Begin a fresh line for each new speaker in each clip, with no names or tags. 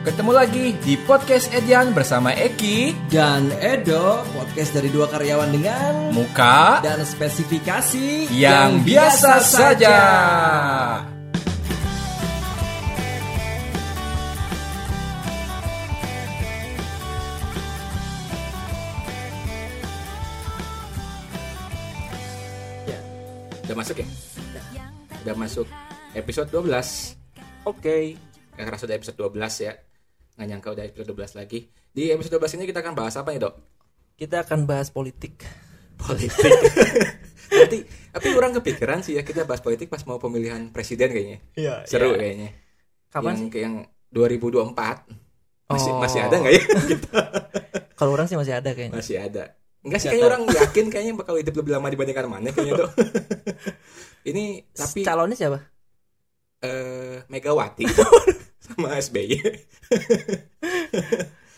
Ketemu lagi di podcast Edian bersama Eki,
dan Edo podcast dari dua karyawan dengan
Muka,
dan spesifikasi
yang biasa saja.
Ya.
Udah masuk ya? Udah masuk episode 12. Oke, nggak kerasa udah episode 12 ya. Nggak nyangka udah episode 12 lagi. Di episode 12 ini kita akan bahas apa nih, Dok?
Kita akan bahas politik.
Politik. Nanti, tapi orang kepikiran sih ya kita bahas politik pas mau pemilihan presiden kayaknya.
Iya.
Seru kayaknya. yang,
Kapan sih?
Yang 2024. Masih,
Oh.
masih ada nggak ya?
Kalau orang sih masih ada kayaknya.
Masih ada. Enggak sih
Nggak
kayaknya
tahu.
orang yakin kayaknya bakal hidup lebih lama dibandingkan mana kayaknya tuh. Ini tapi
calonnya siapa?
eh, Megawati sama SBY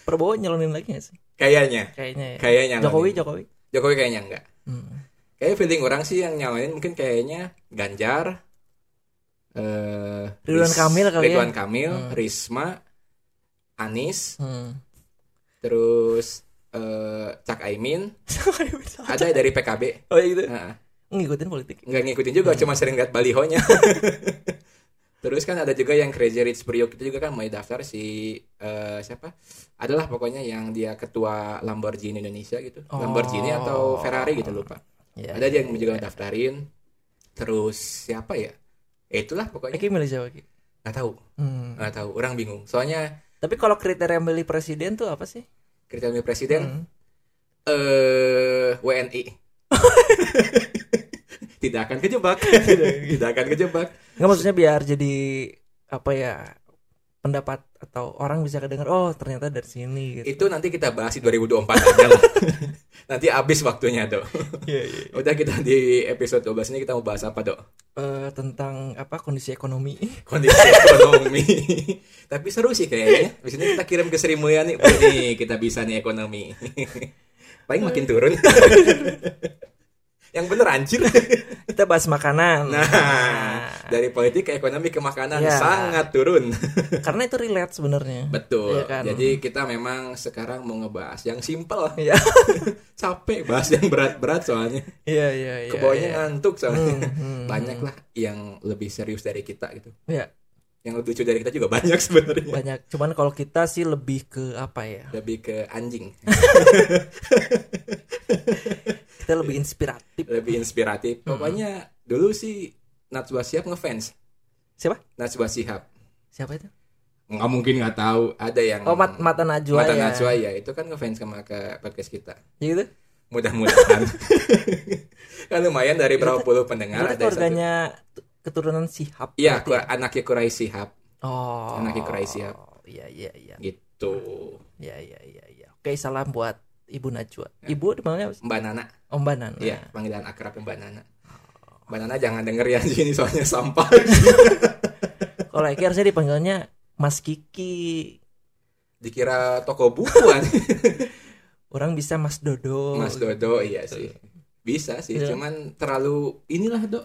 Prabowo nyalonin lagi nggak sih?
kayaknya
Kayaknya. Ya.
kayaknya lah
Jokowi,
nih.
Jokowi.
Jokowi kayaknya enggak.
Hmm.
Kayak feeling orang sih yang nyalain mungkin kayaknya Ganjar eh
Ridwan
Ris-
Kamil kali ya.
Ridwan Kamil,
Hmm.
Risma, Anies,
Hmm.
terus eh Cak Aimin, ada dari PKB.
oh ya gitu.
Heeh.
Ngikutin politik.
nggak ngikutin juga
Hmm.
cuma sering lihat balihonya terus kan ada juga yang Crazy Rich Priok itu juga kan mau daftar si eh, siapa adalah pokoknya yang dia ketua Lamborghini Indonesia gitu
Oh.
Lamborghini atau Ferrari gitu lupa
Ya.
ada dia yang juga daftarin terus siapa ya Ya, itulah pokoknya
Oke, milih siapa? Ki?
nggak tahu
Hmm.
nggak tahu orang bingung soalnya
Tapi kalau kriteria milih presiden tuh apa sih?
kriteria presiden
Hmm.
eh WNI tidak akan kejebak tidak akan kejebak
Nggak maksudnya biar jadi apa ya pendapat atau orang bisa kedengar oh ternyata dari sini gitu.
itu nanti kita bahas di 2024 aja lah. nanti habis waktunya dok
Iya, iya.
udah kita di episode 12 ini kita mau bahas apa dok
Eh, tentang apa kondisi ekonomi.
kondisi ekonomi tapi seru sih kayaknya di sini kita kirim ke Sri Mulyani "Bu, nih kita bisa nih ekonomi paling makin turun yang bener anjir
Kita bahas makanan.
nah dari politik ke ekonomi ke makanan
Ya.
sangat turun
karena itu relate sebenarnya.
betul
Iya kan?
jadi kita memang sekarang mau ngebahas yang simple
Iya.
capek bahas yang berat-berat soalnya
Iya, iya, iya.
kebawahnya
iya.
ngantuk soalnya
Hmm, hmm,
banyak
hmm.
lah yang lebih serius dari kita gitu
Iya,
yang lebih lucu dari kita juga banyak sebenarnya
banyak. Cuman kalau kita sih lebih ke apa ya?
lebih ke anjing
Kita lebih inspiratif.
lebih inspiratif pokoknya dulu sih Najwa Shihab ngefans
Siapa?
Najwa Shihab
Siapa itu?
nggak mungkin nggak tahu ada yang
Oh, Mat- Mata Najwa.
Mata
ya.
Najwa ya Iya itu kan ngefans sama ke podcast kita
Ya gitu.
mudah-mudahan kan lumayan dari berapa puluh pendengar
Berarti
ada satu
keluarganya ya? tu- keturunan Sihab.
iya
berarti.
Qur- anaknya Quraisy Shihab
Oh.
anaknya Quraisy Shihab.
Iya, iya, iya.
gitu
Iya, iya, iya, iya. Oke, salam buat Ibu Najwa. Ibu namanya apa sih?
Mbak Nana
Om Banan.
Iya, panggilan akrab yang Mbak Nana. Mbak Nana jangan denger ya di sini soalnya sampah.
Kalau Eki harusnya dipanggilnya Mas Kiki.
Dikira toko bukuan
Orang bisa Mas Dodo.
Mas Dodo, iya sih. Bisa sih,
Oh, gitu. Iya.
cuman terlalu inilah, Dok.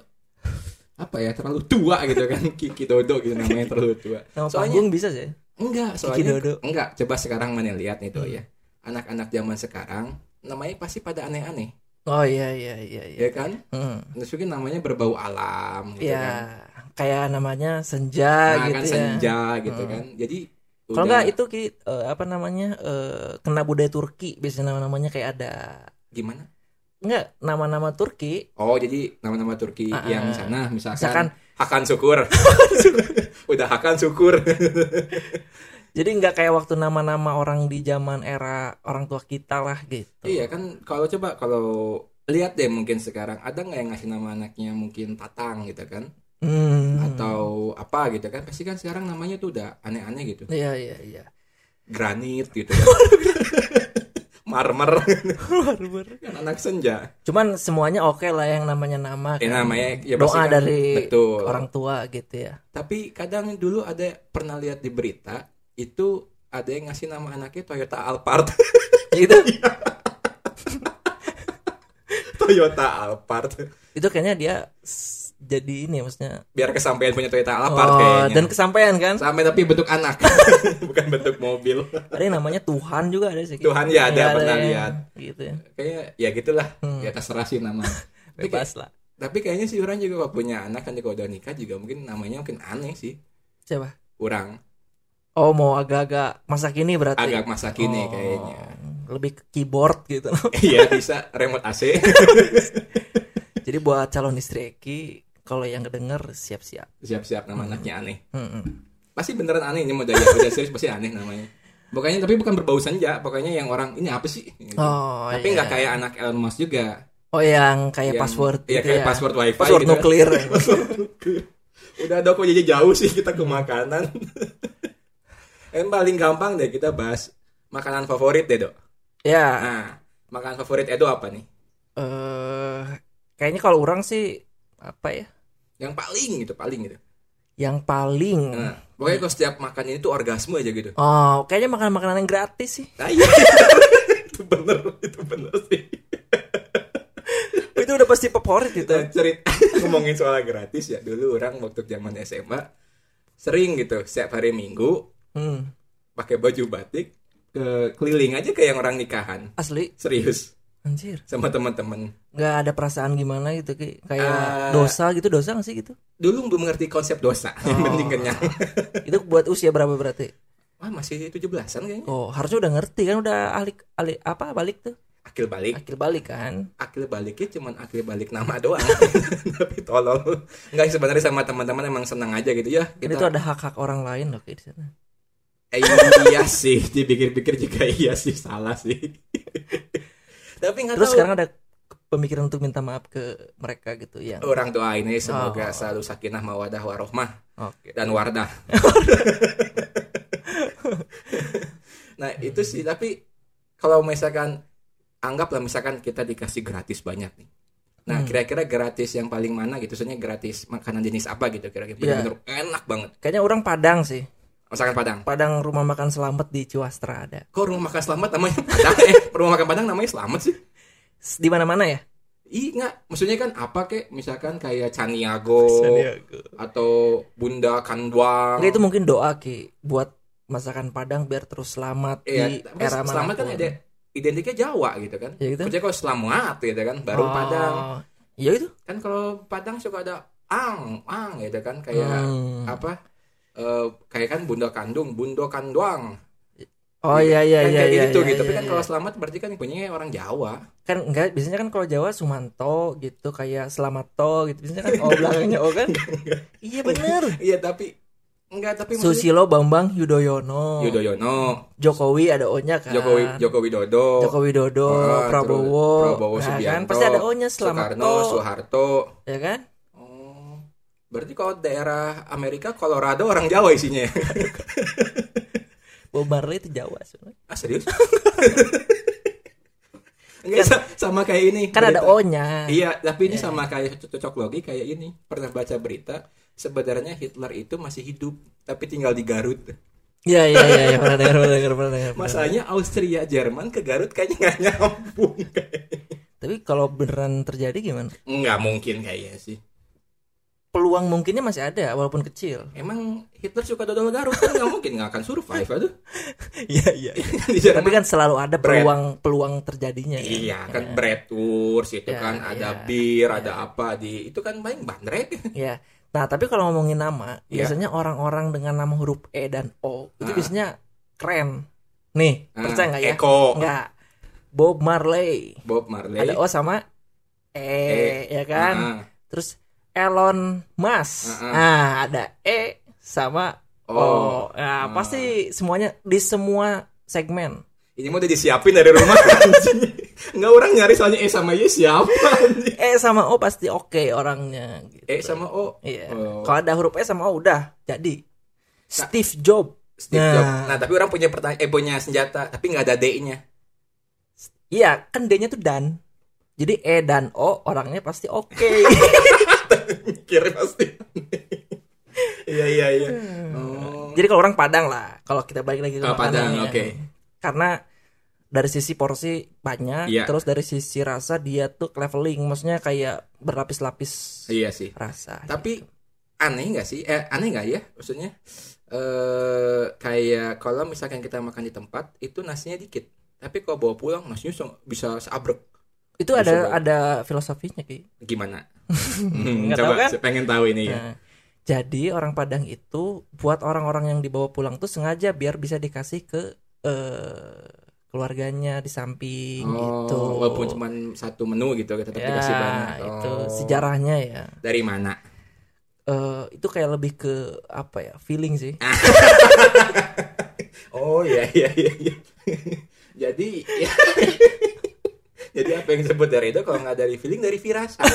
Apa ya, terlalu tua gitu kan Kiki Dodo gitu namanya terlalu tua.
Nama
Soalnya-
panggung bisa sih.
Enggak, soalnya
Dodo.
enggak. Coba sekarang mana lihat nih, Dok
Hmm.
ya. Anak-anak zaman sekarang namanya pasti pada aneh-aneh,
Oh iya iya iya iya.
ya kan?
Hmm.
Mungkin namanya berbau alam gitu
Iya,
kan.
kayak namanya senja
Nah,
gitu
kan
ya.
senja gitu
Hmm.
kan. Jadi
Kalau
udah-
nggak itu Ki, eh, apa namanya eh, kena budaya Turki biasanya nama-namanya kayak ada
gimana?
nggak nama-nama Turki
Oh, jadi nama-nama Turki
Ah,
yang
ah.
sana misalkan,
Misalkan-
Hakan Syukur. Udah Hakan Syukur.
jadi nggak kayak waktu nama-nama orang di zaman era orang tua kita lah gitu
iya kan kalau coba kalau lihat deh mungkin sekarang ada nggak yang ngasih nama anaknya mungkin Tatang gitu kan
Hmm.
atau apa gitu kan pasti kan sekarang namanya tuh udah aneh-aneh gitu
iya iya iya
granit gitu kan. marmer kan anak senja
cuman semuanya oke lah yang namanya nama
ya
kan.
namanya ya pasti
doa
kan-
dari
betul
orang tua gitu ya
tapi kadang dulu ada pernah lihat di berita itu ada yang ngasih nama anaknya Toyota Alphard
gitu
Toyota Alphard
itu kayaknya dia s- jadi ini ya maksudnya
biar kesampaian punya Toyota Alphard
Oh,
kayaknya
dan kesampaian kan
sampai tapi bentuk anak bukan bentuk mobil
ada yang namanya Tuhan juga ada sih
Tuhan ya ada, pernah
ya.
lihat.
gitu ya
kayak ya gitulah
Hmm.
ya terserah sih nama tapi,
itu pas lah
tapi kayaknya sih orang juga kalau punya anak nanti kalau udah nikah juga mungkin namanya mungkin aneh sih
siapa
kurang
oh mau agak masa kini berarti
agak masa kini
Oh,
kayaknya
lebih ke keyboard gitu loh.
iya bisa remote AC
jadi buat calon istri Eki kalau yang kedenger siap-siap
siap-siap nama
Hmm.
anaknya aneh
Mm-mm.
pasti beneran aneh ini mau udah udah serius pasti aneh namanya pokoknya tapi bukan berbau senja pokoknya yang orang ini apa sih Gitu.
oh
tapi
iya.
nggak kayak anak Elon Musk juga
oh yang kayak
Yang-
password
iya
gitu
kayak
ya.
password wifi
password
gitu kan.
nuklir
Password nuklir. udah ada kok jadi jauh sih kita ke makanan yang paling gampang deh kita bahas makanan favorit deh dok
ya
nah makanan favorit Edo apa nih
eh kayaknya kalau orang sih apa ya
yang paling gitu paling gitu
yang paling
nah, pokoknya kalau setiap makan ini tuh orgasme aja gitu
oh kayaknya makanan makanan yang gratis sih
nah, iya. itu bener itu bener sih
itu udah pasti favorit gitu
kita cerita ngomongin soal gratis ya dulu orang waktu zaman SMA sering gitu setiap hari minggu
Hmm,
pakai baju batik ke keliling aja kayak yang orang nikahan
asli
serius
anjir
sama teman-teman
nggak ada perasaan gimana gitu Ki.
Ah.
kayak dosa gitu dosa nggak sih gitu
dulu belum mengerti konsep dosa yang
Oh.
penting kenyang
itu buat usia berapa berarti
wah masih 17-an kayaknya
oh harusnya udah ngerti kan udah alik alik apa balik tuh
akil balik
akil balik kan
akil baliknya cuman akil balik nama doang tapi tolol nggak sebenarnya sama teman-teman emang senang aja gitu ya
ini
kita
tuh ada hak hak orang lain loh Ki, di sana
Eh, iya sih dipikir-pikir juga iya sih salah sih tapi nggak
terus
tahu
sekarang ada pemikiran untuk minta maaf ke mereka gitu yang
orang doain ini semoga
Oh.
selalu sakinah mawadah warohmah
Oke.
dan wardah. nah itu sih tapi kalau misalkan anggaplah misalkan kita dikasih gratis banyak nih. Nah
Hmm.
kira-kira gratis yang paling mana gitu? Soalnya gratis makanan jenis apa gitu kira-kira?
Iya.
Bener-bener enak banget.
kayaknya orang Padang sih
Masakan Padang.
Padang rumah makan selamat di Ciwastra ada
Kok rumah makan selamat namanya Padang? eh, rumah makan Padang namanya selamat sih?
S- di mana mana ya
Iya nggak? Maksudnya kan apa kek? Misalkan kayak Caniago atau Bunda Kandwang.
Nggak, itu mungkin doa ki buat masakan Padang biar terus selamat di
Iya, tapi
era mana
selamat kan ada identiknya Jawa gitu kan.
ya gitu
Kerja kalau selamat gitu kan, baru
Oh,
Padang.
ya itu
Kan kalau Padang suka ada ang, ang gitu kan kayak
Hmm.
apa? eh, kayak kan bunda kandung, bunda kanduang.
oh iya iya
kan
iya
kayak
iya,
gitu
iya,
gitu. Tapi
iya,
kan
iya.
kalau selamat berarti kan punyanya orang Jawa.
kan enggak biasanya kan kalau Jawa Sumanto gitu kayak Slamato gitu biasanya kan oh belakangnya oh kan iya bener
Iya, tapi enggak tapi maksudnya-
Susilo Bambang Yudhoyono
Yudhoyono,
Jokowi ada O-nya kan
Jokowi Joko Widodo,
Joko Widodo
Ah,
Prabowo
terus Prabowo
Nah, kan
Subianto,
pasti ada O-nya
Soekarno,
Slamato
Soeharto.
ya kan
Oh, berarti kalau daerah Amerika Colorado orang Jawa isinya. ya?
Bob Marley itu Jawa sebenarnya.
Ah serius? Enggak sa- sama kayak ini.
Kan ada
berita.
O-nya.
Iya, tapi ini
Iya.
sama kayak co- cocok logi kayak ini. Pernah baca berita sebenarnya Hitler itu masih hidup tapi tinggal di Garut.
Iya iya iya iya pernah dengar pernah dengar pernah dengar. pernah dengar.
Masalahnya Austria Jerman ke Garut kayaknya nggak nyambung.
Tapi kalau beneran terjadi gimana?
Nggak mungkin kayaknya sih.
Peluang mungkinnya masih ada walaupun kecil.
Emang Hitler suka dodol Garut kan nggak mungkin nggak akan survive aduh.
Iya iya.
di Jerman.
Tapi kan selalu ada
Bread.
peluang peluang terjadinya. ya.
Iya kan
Ya.
bread tours itu
Ya,
kan ada
ya,
bir,
ya.
ada apa di itu kan paling bandrek.
Iya. Nah tapi kalau ngomongin nama,
Iya.
biasanya orang-orang dengan nama huruf E dan O itu
Ah.
biasanya keren. Nih percaya nggak ya?
Eko,
Nggak. Bob Marley.
Bob Marley.
Ada O sama E, ya kan?
Eh. Ah,
Terus Elon Musk.
Heeh.
Nah, ada E sama
ah.
O.
Oh,
Nah,
Hmm.
pasti semuanya di semua segmen.
ini mau udah disiapin dari rumah anjing. Enggak orang nyari soalnya E sama Y siapa anjing?
E sama O pasti oke orangnya gitu.
E sama O.
Iya.
Oh.
Kalau ada huruf E sama O udah jadi.
Sa-
Steve Jobs.
Steve
Nah.
Jobs. Nah, tapi orang punya pertanyaan eh punya senjata, tapi nggak ada D-nya.
Iya, kan D-nya tuh dan. Jadi E dan O orangnya pasti oke.
Kira pasti. Iya iya iya. Oh.
Hmm. Jadi kalau orang Padang lah, kalau kita balik lagi ke
Ah, Padang,
makanannya.
oke.
Karena dari sisi porsi banyak
Iya.
terus dari sisi rasa dia tuh leveling maksudnya kayak berlapis-lapis
Iya sih.
rasa
Tapi aneh nggak sih? Eh aneh nggak ya? Maksudnya eh kayak kalau misalkan kita makan di tempat itu nasinya dikit. Tapi kalau bawa pulang nasinya se- bisa seabrek.
itu ada
Bisa
ada filosofinya Ki.
Gimana? Hmm,
Nggak
coba
tahu kan?
saya pengen tahu ini ya.
Nah, jadi orang Padang itu buat orang-orang yang dibawa pulang tuh sengaja biar bisa dikasih ke eh, keluarganya di samping gitu.
Oh, walaupun cuma satu menu gitu, kita tetap
ya,
dikasih banyak.
itu
Oh.
sejarahnya ya.
Dari mana?
Eh, itu kayak lebih ke apa ya? Feeling sih.
Ah. Oh iya iya iya. iya. Jadi ya. Jadi apa yang disebut dari itu kalau nggak dari feeling dari firasat.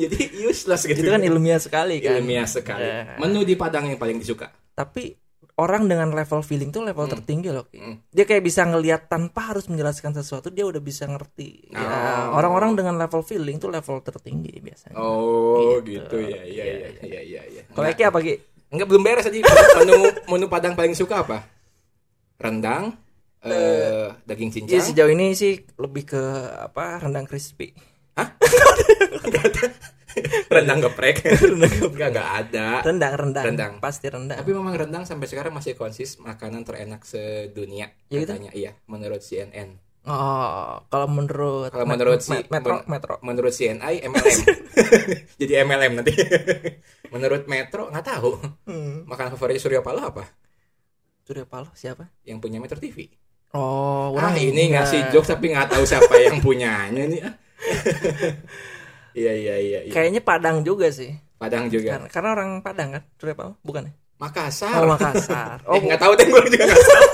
Jadi useless gitu.
itu kan ilmiah sekali kan.
ilmiah sekali.
Ya.
Menu di Padang yang paling disuka.
Tapi orang dengan level feeling tuh level tertinggi loh. Ki.
Hmm.
Dia kayak bisa ngelihat tanpa harus menjelaskan sesuatu, dia udah bisa ngerti. Ya,
Oh.
orang-orang dengan level feeling tuh level tertinggi biasanya.
Oh
Gitu.
gitu, ya ya
Iya,
ya ya ya. ya.
Kalau
Enggak,
Eki apa Ki?
enggak, belum beres aja. menu menu Padang paling suka apa? Rendang, eh daging cincang.
Iya sejauh ini sih lebih ke apa rendang crispy.
rendang geprek. rendang geprek enggak ada.
Rendang rendang.
Rendang.
Pasti rendang.
Tapi memang rendang sampai sekarang masih konsis makanan terenak sedunia
Ya gitu?
katanya. Iya, menurut CNN.
Oh, kalau menurut
Kalau
met-
menurut si-
met- metro
men-
metro.
Menurut CNI MLM. Jadi MLM nanti. menurut Metro nggak tahu.
Hmm.
Makanan favorit Surya Paloh apa?
Surya Paloh siapa?
Yang punya Metro TV.
Oh,
Wah,
orang
Ah, ini ngasih jokes tapi nggak tahu siapa yang punyanya nih. ah. Iya iya iya. iya.
Kayaknya Padang juga sih.
Padang juga.
Karena, karena orang Padang kan Surya Paloh, bukan ya? Oh,
Makassar.
Makassar.
eh
Oh,
nggak tahu deh gue juga nggak salah.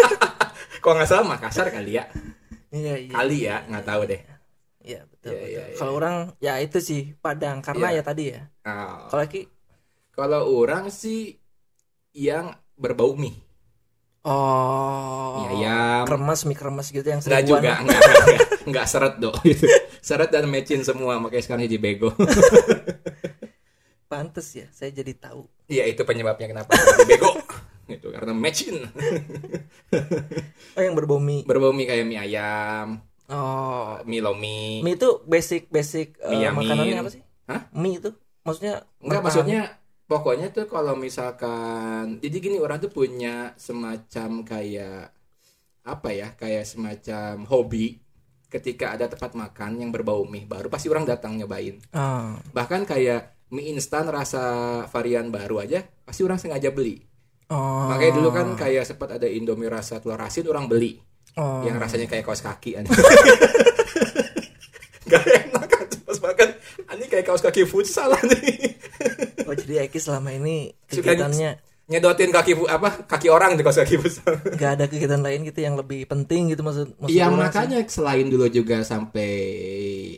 Kok nggak salah Makassar kali ya?
iya iya.
Kali ya nggak tahu deh.
Iya, betul.
Iya, iya,
betul.
iya.
Kalau orang ya itu sih Padang karena
Iya.
ya tadi ya.
Ah,
Kalau Eki
Kalau orang sih yang berbau mie,
oh.
mie ayam,
Kremes, mie kremes gitu yang
Iya, Enggak
seribuan.
juga, enggak, enggak, enggak, enggak seret dong gitu. Seret dan mecin semua, makanya sekarang jadi bego.
Pantes ya, saya jadi tahu.
Iya itu penyebabnya kenapa jadi bego. Gitu, karena mecin.
Oh, yang berbau mie.
Berbau mie kayak mie ayam,
Oh,
mie lomi.
mie itu basic basic eh,
Mie yamin.
makanannya apa sih?
Hah?
Mie itu maksudnya
Enggak
kentang.
maksudnya pokoknya tuh kalau misalkan jadi gini orang tuh punya semacam kayak apa ya kayak semacam hobi ketika ada tempat makan yang berbau mie baru pasti orang datang nyobain
Ah,
bahkan kayak mie instan rasa varian baru aja pasti orang sengaja beli
oh,
makanya dulu kan kayak sempat ada indomie rasa telur asin orang beli
oh.
yang rasanya kayak kaos kaki aneh. Gak enak kan pas makan aneh kayak kaos kaki futsal nih
Oh, jadi Eki selama ini
Suka- gitu.
kegiatannya
nyedotin kaki fu- apa kaki orang di kaos kaki futsal
nggak ada kegiatan lain gitu yang lebih penting gitu maksud maksud
Iya
lu
makanya selain dulu juga sampai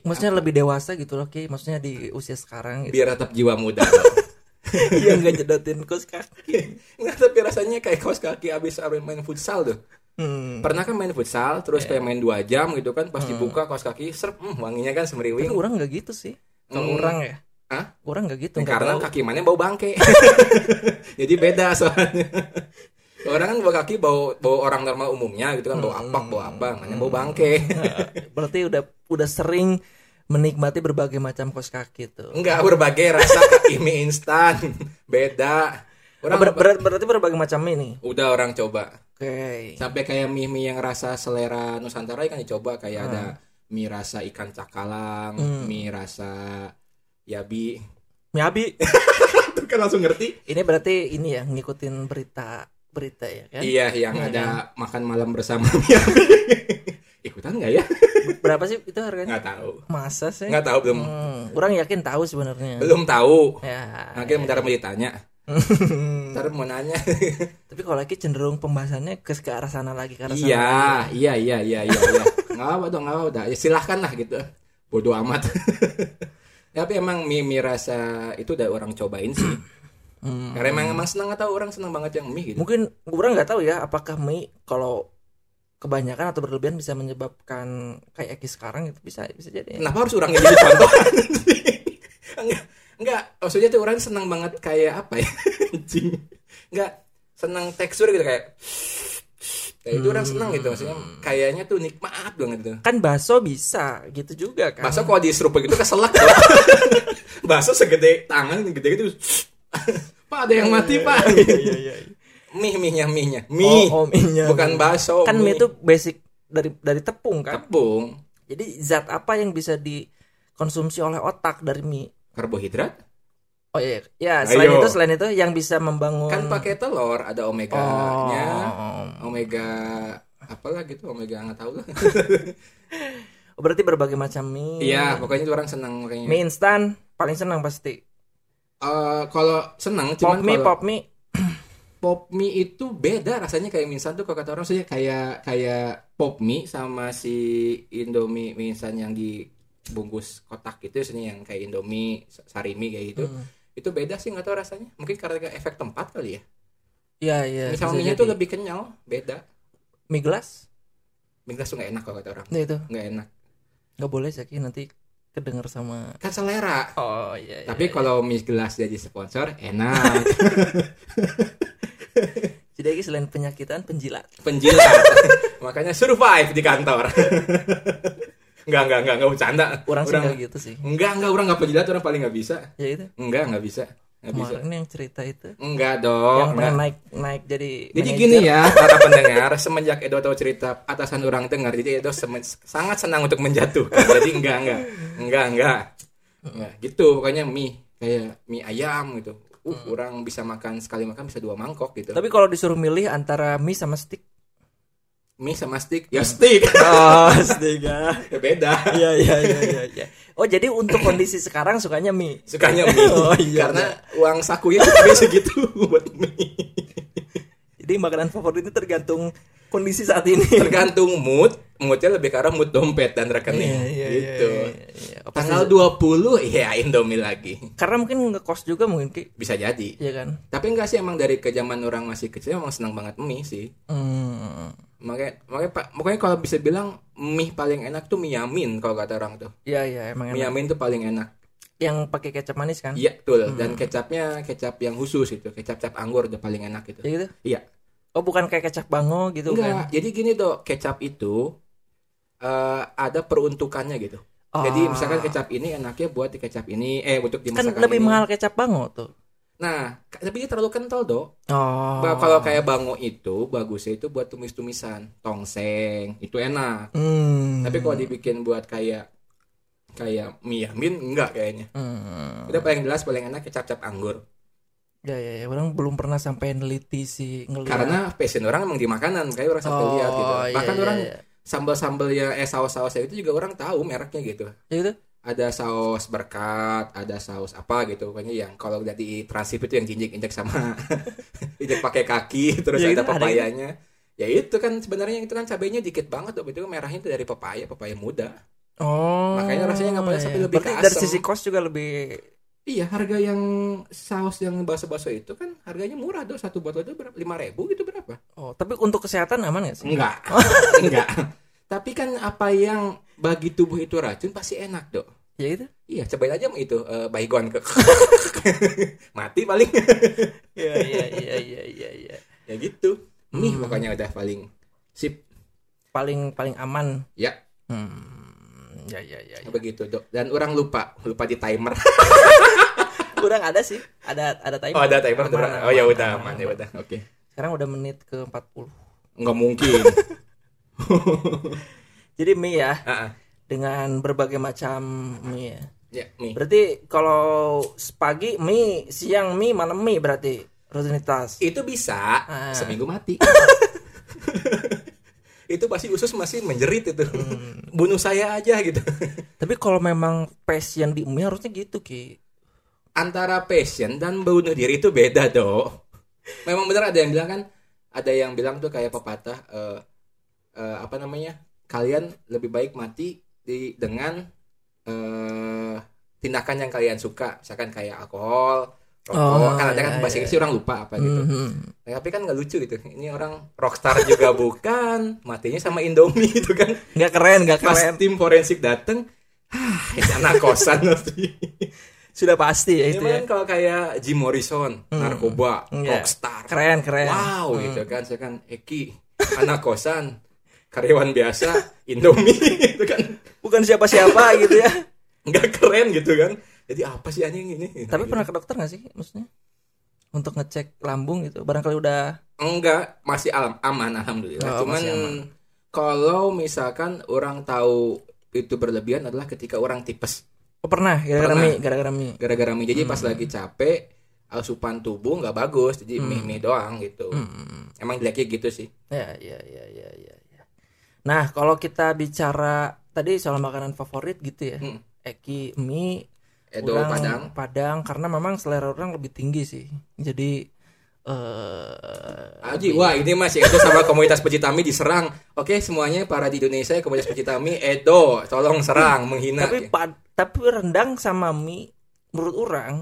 langsung. maksudnya lebih dewasa gitu loh Ki maksudnya di usia sekarang gitu
biar tetap jiwa muda dong. Iya.
yang nggak jedotin kos kaki
Nggak, tapi rasanya kayak kaos kaki abis abis main futsal tuh
hmm.
pernah kan main futsal terus kayak main dua jam gitu kan pas dibuka kaos kaki serp hmm, wanginya kan
tapi
semeriwing
orang nggak gitu sih kalau
Hmm.
orang ya
Hah?
orang nggak gitu nggak
karena
bau.
kaki mana bau bangke jadi beda soalnya orang kan bau kaki bau bau orang normal umumnya gitu kan bau apak bau apa mana bau bangke
berarti udah udah sering menikmati berbagai macam kos kaki tuh
enggak berbagai rasa kaki mie instan beda orang
Oh, Ber- ber- berarti berbagai macam ini
udah orang coba
oke
sampai kayak mie mie yang rasa selera nusantara kan dicoba kayak ada
Hmm.
mie rasa ikan cakalang mie rasa yabi
Miabi
itu kan langsung ngerti
ini berarti ini ya ngikutin berita berita ya kan
iya yang ada makan malam bersama mie yabi ikutan nggak ya
berapa sih itu harganya
nggak tahu
masa sih
nggak tahu belum
Hmm, orang yakin tahu sebenarnya
belum tahu
ya Hmm.
akhirnya bentar mau ditanya bentar mau nanya
tapi kalau lagi cenderung pembahasannya ke ke arah sana lagi ke arah sana
iya iya iya iya iya iya. nggak apa dong nggak apa dah. ya silahkan lah gitu bodoh amat tapi emang mie mie rasa itu udah orang cobain sih
Hmm.
karena emang emang senang atau orang senang banget yang mie gitu
mungkin orang nggak tahu ya apakah mie kalau kebanyakan atau berlebihan bisa menyebabkan kayak Eki sekarang itu bisa bisa jadi ya.
kenapa harus orang yang jadi contoh enggak enggak maksudnya tuh orang senang banget kayak apa ya anjing enggak senang tekstur gitu kayak Nah, itu orang senang gitu maksudnya kayaknya tuh nikmat banget gitu. tuh.
Kan bakso bisa gitu juga kan.
Bakso kalau diseruput gitu keselak. bakso segede tangan gede gitu. Pak ada yang mati, Pak.
Iya iya iya.
mie mie-nya mie-nya. Mie.
Oh, oh, mie-nya.
Bukan bakso.
Kan mie itu basic dari dari tepung kan.
tepung,
Jadi zat apa yang bisa dikonsumsi oleh otak dari mie?
karbohidrat.
Oh iya, ya selain
Ayo.
itu selain itu yang bisa membangun
Kan pakai telur, ada omega-nya.
Oh.
Omega apalah gitu, omega nggak tahu lah.
Oh, Berarti berbagai macam mie.
Iya, pokoknya itu orang senang makanya.
Mie instan paling senang pasti.
Eh, kalau senang
Pop
cuman
mie,
kalau
pop mie.
pop mie itu beda rasanya kayak mie instan tuh kalau kata orang maksudnya kayak kayak pop mie sama si Indomie mie instan yang dibungkus kotak gitu maksudnya yang kayak Indomie sarimi kayak gitu.
Hmm.
Itu beda sih nggak tahu rasanya. Mungkin karena efek tempat kali ya.
Iya, iya.
mie sama
bisa
mie
jadi.
itu lebih kenyal, beda.
mie gelas.
Mie gelas tuh nggak enak kalau kata orang.
Ya itu.
Nggak enak.
Gak boleh Zaki nanti kedenger sama
Kan selera.
Oh iya.
Tapi
iya,
kalau mie gelas jadi sponsor enak.
iya. jadi Zaki selain penyakitan penjilat.
Penjilat. Makanya survive di kantor. Enggak, enggak, enggak, enggak bercanda.
Orang sih
Orang-
nggak gitu sih.
Enggak, enggak, orang enggak penjilat, orang paling nggak bisa.
Ya itu.
Enggak, enggak bisa. Enggak bisa.
Kemarin yang cerita itu
Enggak dong.
yang
enggak.
pengen naik naik jadi
Jadi
manajer.
gini ya, para pendengar, semenjak Edo tahu cerita atasan orang dengar, jadi Edo semen- sangat senang untuk menjatuhkan. Jadi enggak, enggak. Enggak, enggak. Enggak, gitu. Pokoknya mie kayak mie ayam gitu. Uh, orang bisa makan sekali makan bisa dua mangkok gitu.
Hmm. Tapi kalau disuruh milih antara mie sama stick.
mie sama stick, ya stick.
Oh, stick ya.
Ya beda
Iya iya iya iya. iya. Oh, jadi untuk kondisi sekarang sukanya mie.
sukanya mie
Oh, iya.
karena uang sakunya cuma segitu buat mie
Jadi makanan favoritnya tergantung kondisi saat ini.
tergantung mood moodnya lebih karena mood dompet dan rekening gitu
iya, iya. Apa
tanggal
sih?
20
iya,
ya Indomie lagi
karena mungkin ngekos juga mungkin Ki.
bisa jadi
Iya kan?
tapi enggak sih emang dari ke zaman orang masih kecil emang senang banget mie sih
Hmm.
makanya makanya pak makanya kalau bisa bilang mie paling enak tuh mie yamin kalau kata orang tuh
Iya iya emang
mie
enak.
yamin tuh paling enak
Yang pakai kecap manis kan?
iya betul dan kecapnya kecap yang khusus itu kecap cap anggur udah paling enak gitu
Ya gitu.
iya
Oh, bukan kayak kecap bango gitu kan?
Enggak, jadi gini tuh kecap itu eh, ada peruntukannya gitu.
Oh.
Jadi misalkan kecap ini enaknya buat di kecap ini, eh untuk
kan
dimasakan
lebih
ini.
mahal kecap bango tuh.
Nah, ka- tapi dia terlalu kental dong.
Oh.
Kalau kayak bango itu bagusnya itu buat tumis-tumisan, tongseng, itu enak.
Hmm.
Tapi kalau dibikin buat kayak kayak mie yamin enggak kayaknya.
Hmm.
Udah paling jelas paling enak kecap-cap anggur.
Ya ya ya, orang belum pernah sampai neliti sih ngelihat.
Karena passion orang emang di makanan, kayak orang sampai
Iya. Oh,
lihat gitu.
iya,
Bahkan
iya,
orang
iya.
sambal-sambal ya eh saus-sausnya itu juga orang tahu mereknya gitu.
Ya gitu.
ada saus berkat, ada saus apa gitu, pokoknya yang kalau udah di transip itu yang jinjek injek sama injek pakai kaki, terus
Ya,
ada
itu ada
pepayanya. Ya itu kan sebenarnya itu kan cabainya dikit banget tuh, itu merahnya itu dari pepaya, pepaya muda.
Oh.
Makanya rasanya nggak pakai,
iya,
tapi
iya.
lebih ke
Berarti dari
asem.
sisi kos juga lebih
Iya, harga yang saus yang baso-baso itu kan harganya murah tuh, satu botol itu berapa? Lima ribu gitu berapa?
Oh, tapi untuk kesehatan aman gak sih?
Enggak, enggak. Tapi kan apa yang bagi tubuh itu racun pasti enak dok.
Ya itu.
Iya, cobain aja itu eh, baygon ke mati paling.
Iya iya iya iya iya iya.
ya gitu mie pokoknya udah paling sip
Paling paling aman.
ya
Hmm. Ya ya ya. ya.
begitu gitu, dok dan orang lupa lupa di timer
Kurang ada sih. Ada ada timer.
oh ada timer tuh,
Aman,
orang. oh ya
aman,
udah
aman.
aman ya udah oke
Sekarang udah menit ke 40.
nggak mungkin
Jadi mie ya
Ah, ah.
dengan berbagai macam mie ya.
ya mie
Berarti kalau pagi mie, siang mie, malam mie berarti rutinitas.
itu bisa
Ah.
seminggu mati itu pasti usus masih menjerit itu bunuh saya aja gitu
Tapi kalau memang passion di mie harusnya gitu Ki.
antara passion dan bunuh diri itu beda dok memang benar ada yang bilang kan ada yang bilang tuh kayak pepatah eh, eh, apa namanya kalian lebih baik mati di dengan eh, tindakan yang kalian suka misalkan kayak alkohol rokok
Oh,
kan ada kan
iya,
bahasa
iya.
Inggris orang lupa apa gitu
Mhm.
Nah, tapi kan nggak lucu gitu ini orang rockstar juga bukan matinya sama Indomie gitu kan
Nggak keren, nggak
pas
keren.
tim forensik dateng ah itu anak kosan pasti
Sudah pasti ya itu
Cuman
ya.
Iya, kalau kayak Jim Morrison, narkoba,
Iya.
rockstar,
Keren, keren.
wow
Hmm.
gitu kan, saya kan Eki, anak kosan, karyawan biasa, Indomie itu kan
Bukan siapa-siapa gitu ya.
nggak keren gitu kan. Jadi apa sih anjing ini? Gitu.
Tapi pernah ke dokter nggak sih maksudnya? Untuk ngecek lambung gitu. Barangkali udah
enggak masih alam aman alhamdulillah.
Oh,
Cuman
masih aman.
kalau misalkan orang tahu itu berlebihan adalah ketika orang tipes
oh, pernah gara-gara
Pernah.
mie, gara-gara mie.
gara-gara mie. Jadi
Hmm.
pas lagi capek asupan tubuh nggak bagus jadi mie mie doang gitu.
Hmm.
Emang jeleknya gitu sih.
Ya, ya, ya, ya, ya, ya. Nah, kalau kita bicara tadi soal makanan favorit gitu ya.
Hmm.
Eki mie
Edo
orang
Padang.
Padang karena memang selera orang lebih tinggi sih. Jadi eh
Aji, wah ini Mas Edo sama komunitas pecitami diserang. Oke, semuanya para di Indonesia komunitas pecitami Edo, tolong serang, menghina.
tapi pad- tapi rendang sama mie menurut orang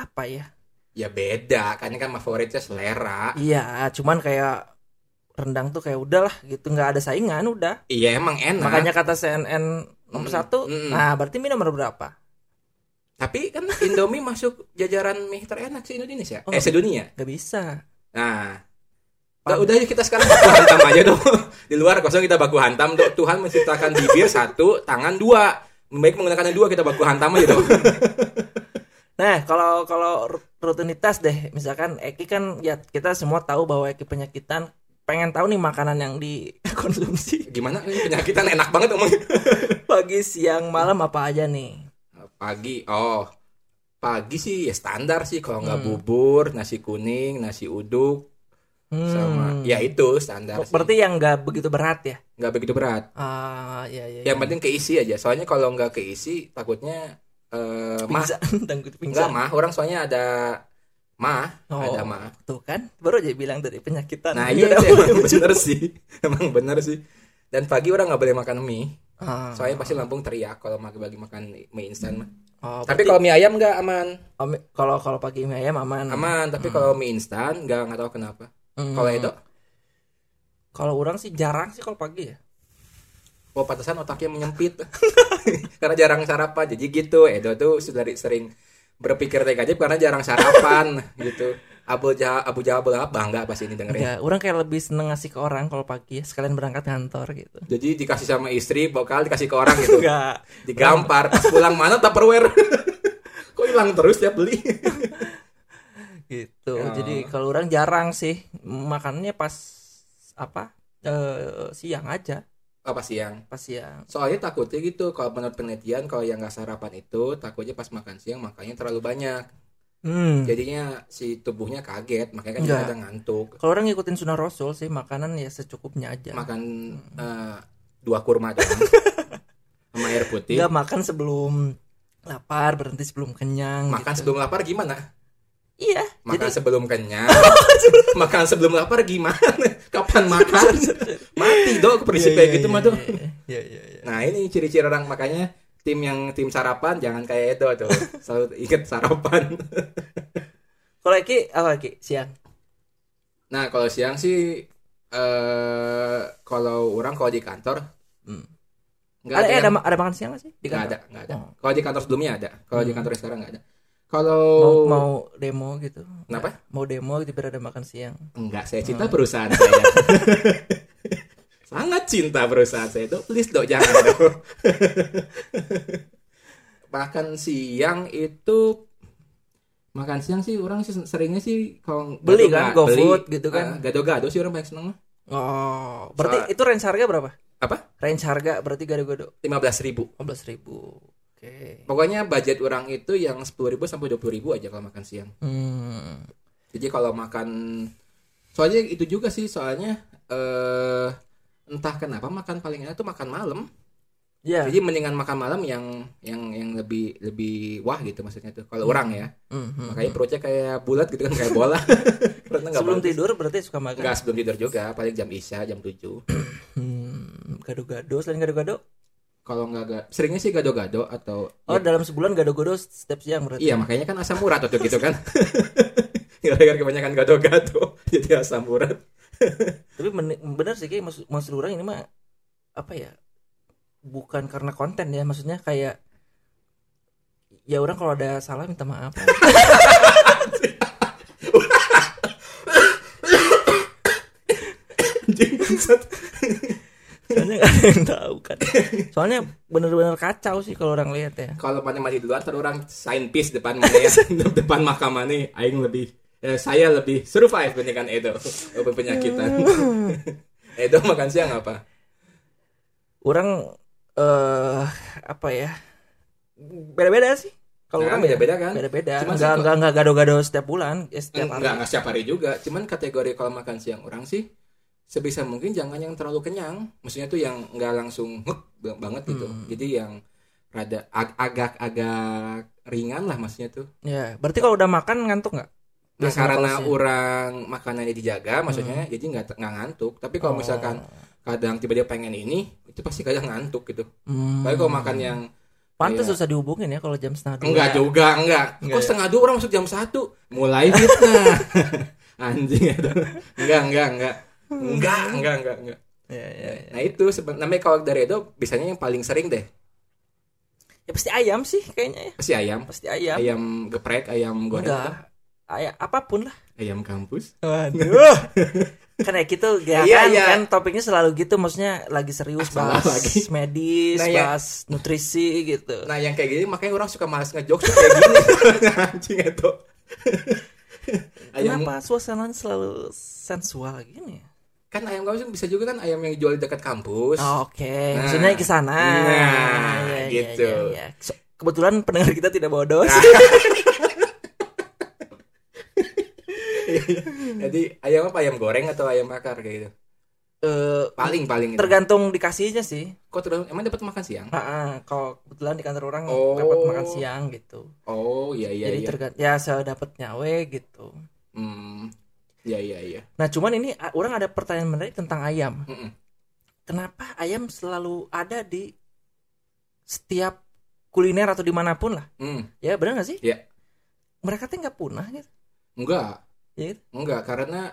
apa ya?
Ya beda, karena kan favoritnya selera.
Iya, cuman kayak rendang tuh kayak udahlah gitu, nggak ada saingan udah.
Iya emang enak.
Makanya kata CNN nomor
Mm-mm,
satu.
mm-mm.
Nah, berarti mie nomor berapa?
Tapi kan Indomie masuk jajaran mie terenak se Indonesia,
Oh.
eh sedunia.
Gak bisa.
Nah,
Pan-
Nah, udah yuk kita sekarang baku hantam aja dong. Di luar kosong kita baku hantam. Dok. Tuhan menciptakan bibir satu, tangan dua. Baik menggunakan yang dua kita baku hantam aja dong.
Nah, kalau kalau ru- rutinitas deh, misalkan Eki kan ya kita semua tahu bahwa Eki penyakitan, pengen tahu nih makanan yang dikonsumsi
Gimana ini penyakitan enak banget omong.
pagi, siang, malam apa aja nih?
Pagi, oh pagi sih ya standar sih kalau nggak
Hmm.
bubur, nasi kuning, nasi uduk
Hmm. Oh,
sama ya itu standar. sih.
Berarti yang nggak begitu berat ya?
nggak begitu berat.
Ah, ya ya.
Yang penting keisi aja. Soalnya kalau nggak keisi takutnya eh mah
pingsan,
Enggak
dangdut pingsan.
mah, orang soalnya ada mah,
Oh,
ada mah.
Tuh kan, baru aja bilang dari penyakitan.
Nah, iya
Udah,
itu
udah,
emang
udah.
bener sih. Emang bener sih. Dan pagi orang nggak boleh makan mie,
Ah.
soalnya pasti lambung teriak kalau magi bagi makan mie instan mah.
Oh,
Tapi
berarti
kalau mie ayam nggak aman,
om- kalau kalau pagi mie ayam aman.
aman. Tapi kalau mie instan nggak nggak tahu kenapa.
Hmm.
Kalau itu,
kalau orang sih jarang sih kalau pagi ya.
oh pantesan otaknya menyempit karena jarang sarapan. Jadi gitu, Edo tuh sudah dari- sering berpikir negatif karena jarang sarapan gitu. Abu Jahal, Abu Jahal Abdul Wahab bangga pasti ini dengerin.
Ya, orang kayak lebih seneng ngasih ke orang kalau pagi ya, sekalian berangkat kantor gitu.
Jadi dikasih sama istri, bakal dikasih ke orang gitu.
Enggak.
digampar pas pulang mana Tupperware kok hilang terus tiap beli
gitu.
Ya.
Jadi kalau orang jarang sih makannya pas apa? eh, siang aja,
apa siang
pas siang.
soalnya takutnya gitu kalau menurut penelitian kalau yang nggak sarapan itu takutnya pas makan siang makannya terlalu banyak Ya,
Hmm. Iya.
jadinya si tubuhnya kaget makanya kan
Nggak.
ada ngantuk
Kalau orang ngikutin sunnah Rasul sih makanan ya secukupnya aja.
makan eh, dua kurma doang sama air putih
Enggak makan sebelum lapar, berhenti sebelum kenyang.
makan
gitu.
sebelum lapar gimana
Iya.
makan
Jadi
sebelum kenyang makan sebelum lapar gimana kapan makan mati dok prinsip kayak gitu mah tuh
Iya iya iya.
Nah ini ciri-ciri orang makanya tim yang tim sarapan jangan kayak Edo tuh selalu inget sarapan.
Kalau Eki, apa Eki? Siang.
Nah kalau siang sih eh kalau orang kalau di kantor
Hmm.
nggak
Ada
ada
eh,
yang-
ada, ma- ada makan siang nggak sih? Di
nggak
kantor?
ada nggak ada.
Oh.
Kalau di kantor sebelumnya ada, kalau di
Hmm.
kantor sekarang nggak ada. Kalau
Mau, mau demo gitu.
Oh. Kenapa?
Mau demo gitu biar ada makan siang.
Enggak, saya cinta perusahaan saya. Sangat cinta perusahaan saya itu. Please dok jangan dok. makan siang itu makan siang sih orang sih seringnya sih kalau
Beli
gado-
kan,
ga-
GoFood
beli,
gitu kan.
ah, gado-gado sih orang paling seneng mah.
Oh, berarti
Soal-
itu range harga berapa?
Apa?
Range harga berarti gado-gado
15 ribu.
15 ribu. Oke.
Pokoknya budget orang itu yang 10 ribu sampai 20 ribu aja kalau makan siang.
Hmm.
Jadi kalau makan soalnya itu juga sih soalnya eh entah kenapa makan paling enak tuh makan malam.
Ya.
Jadi mendingan makan malam yang yang yang lebih lebih wah gitu maksudnya tuh.
Hmm.
Kalau orang ya,
Mhm.
makanya perutnya kayak bulat gitu kan kayak bola. Perutnya nggak
Sebelum
bagus.
tidur berarti suka makan.
Nggak, sebelum tidur juga, paling jam isya, jam 7.
Hmm, gado-gado selain gado-gado?
Kalau nggak ga- seringnya sih gado-gado atau
Oh,
ya,
dalam sebulan gado-gado setiap siang berarti.
iya makanya kan asam urat atau gitu kan. Gara-gara kebanyakan gado-gado jadi asam urat.
Tapi men- benar sih kayak maksud, maksud orang ini mah apa ya? Bukan karena konten ya, maksudnya kayak ya orang kalau ada salah minta maaf.
anjing bangsat.
soalnya nggak ada yang tahu kan soalnya bener-bener kacau sih kalau orang lihat ya
Kalau mana mati duluan terus orang sign peace depan mana ya depan mahkamah nih aing lebih eh, saya lebih survive dibandingkan Edo walaupun penyakitan. Edo makan siang apa?
orang eh apa ya beda-beda sih kalau
Nah,
orang
beda-beda kan?
beda-beda
Cuman
nggak
sih
nggak nggak gado-gado setiap bulan ya setiap
Enggak,
hari
enggak setiap hari juga. Cuman kategori kalau makan siang orang sih sebisa mungkin jangan yang terlalu kenyang. Maksudnya tuh yang enggak langsung ngek ba- banget gitu.
Hmm.
Jadi yang rada ag- agak-agak ringan lah maksudnya tuh.
ya berarti kalau udah makan ngantuk nggak ya.
Nah,
Biasanya
karena
kalau sih.
orang makanannya dijaga maksudnya jadi enggak enggak ngantuk. Tapi kalau
Oh.
misalkan kadang tiba-tiba pengen ini, itu pasti kadang ngantuk gitu.
Hmm.
Tapi kalau makan yang
pantas
iya.
susah dihubungin ya kalau jam setengah dua.
enggak juga, Iya. enggak.
Enggak
Kok
ya?
setengah dua orang masuk jam satu mulai fitnah. Anjing itu. Enggak, enggak, enggak. Enggak, enggak, enggak, enggak.
ya, ya, ya.
Nah itu sebenarnya kalau dari Edo biasanya yang paling sering deh
Ya, pasti ayam sih kayaknya ya
pasti ayam,
pasti ayam
ayam geprek, ayam goreng,
Enggak.
apa?
ayam apapun lah
ayam kampus.
Waduh. kan ya gitu ya
Iya,
kan,
iya.
kan topiknya selalu gitu maksudnya lagi serius
Ah, salah
bahas
lagi.
medis,
Nah, ya.
bahas nutrisi gitu.
Nah yang kayak gini makanya orang suka malas ngejokes tuh kayak gini anjing Edo. ayam
Kenapa suasana selalu sensual gini? ya?
kan ayam kampus bisa juga kan ayam yang dijual di dekat kampus.
Oh, Oke,
Nah.
maksudnya ke sana.
Nah,
Ya, ya,
gitu.
ya, ya. So- Kebetulan pendengar kita tidak bodoh.
Nah. Iya. Jadi ayam apa ayam goreng atau ayam bakar kayak gitu.
Eh,
Paling paling itu.
tergantung dikasihnya sih.
Kok tergantung emang dapat makan siang?
Heeh, kalau kebetulan di kantor orang
Oh.
dapat makan siang gitu.
Oh iya iya
Jadi
iya.
tergantung ya saya dapatnya we gitu.
Hmm. Iya iya iya.
Nah, cuman ini a- orang ada pertanyaan menarik tentang ayam.
Mm-mm.
Kenapa ayam selalu ada di setiap kuliner atau dimanapun lah?
Hmm.
Ya benar nggak sih?
Iya.
Mereka tuh nggak punah gitu.
Enggak.
Ya gitu.
Enggak, karena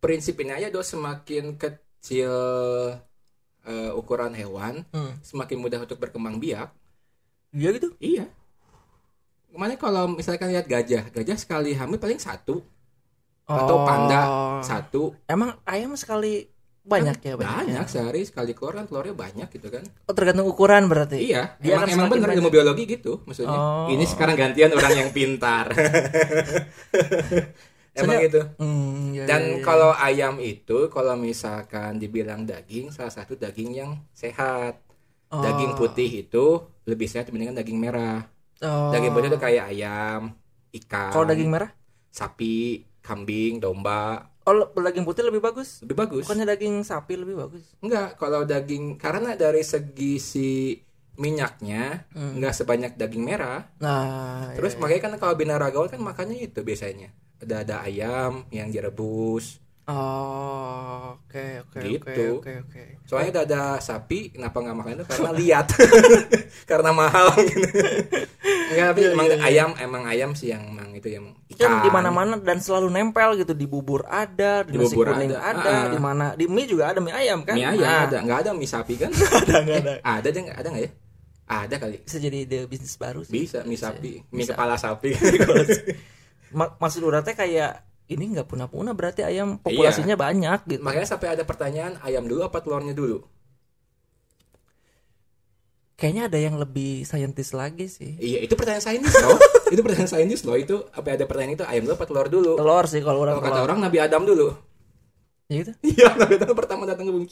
prinsip ini aja do semakin kecil eh, ukuran hewan,
Hmm.
semakin mudah untuk berkembang biak.
Iya gitu.
Iya. Kemarin kalau misalkan lihat gajah, gajah sekali hamil paling satu, Atau panda. satu
Oh. Emang ayam sekali banyak ya
banyak,
banyak.
sehari sekali keluar kan telurnya banyak gitu kan.
Oh, tergantung ukuran berarti.
Iya,
Dia
emang
akan
emang
semakin
benar
banyak.
ilmu biologi gitu maksudnya.
Oh.
Ini sekarang gantian orang yang pintar. emang
Soalnya-
gitu.
Hmm, iya, iya,
Dan
iya.
kalau ayam itu kalau misalkan dibilang daging, salah satu daging yang sehat.
Oh.
Daging putih itu lebih sehat dibandingkan daging merah.
Oh.
Daging putih itu kayak ayam, ikan,
Kalau daging merah?
sapi, kambing, domba,
Oh, le- daging putih lebih bagus.
lebih bagus.
Bukannya daging sapi lebih bagus?
Enggak, kalau daging karena dari segi si minyaknya
Hmm.
enggak sebanyak daging merah.
Nah,
Terus
iya, iya.
makanya kan kalau binaragawan kan makannya itu biasanya. Ada ada ayam yang direbus.
Oh, oke oke oke
Gitu.
oke oke.
Soalnya dada sapi kenapa nggak makan itu karena lihat. karena mahal gitu. Enggak, tapi
Iya,
emang
iya, iya.
ayam emang ayam sih yang emang itu yang ikan.
Kan di mana-mana dan selalu nempel gitu di bubur ada, di,
Di
nasi
bubur
kuning
ada,
ada,
ah.
di mana di mie juga ada mie ayam kan?
Mie ayam
Ah,
ada, nggak ada mie sapi kan?
ada nggak ada.
ada deh, ada nggak ya? Ada kali.
Bisa jadi ide bisnis baru sih.
Bisa mie sapi, mie
Bisa.
kepala sapi.
Ma- maksud urang teh kayak ini nggak punah-punah berarti ayam populasinya banyak gitu.
Makanya sampai ada pertanyaan ayam dulu apa telurnya dulu?
Kayaknya ada yang lebih saintis lagi sih.
Iya, itu pertanyaan saintis loh. itu pertanyaan saintis loh. Itu apa ada pertanyaan itu ayam dulu apa telur dulu?
Telur sih kalau orang
Kalau kata
telur.
orang Nabi Adam dulu.
Ya gitu.
Iya, Nabi Adam pertama datang ke bumi.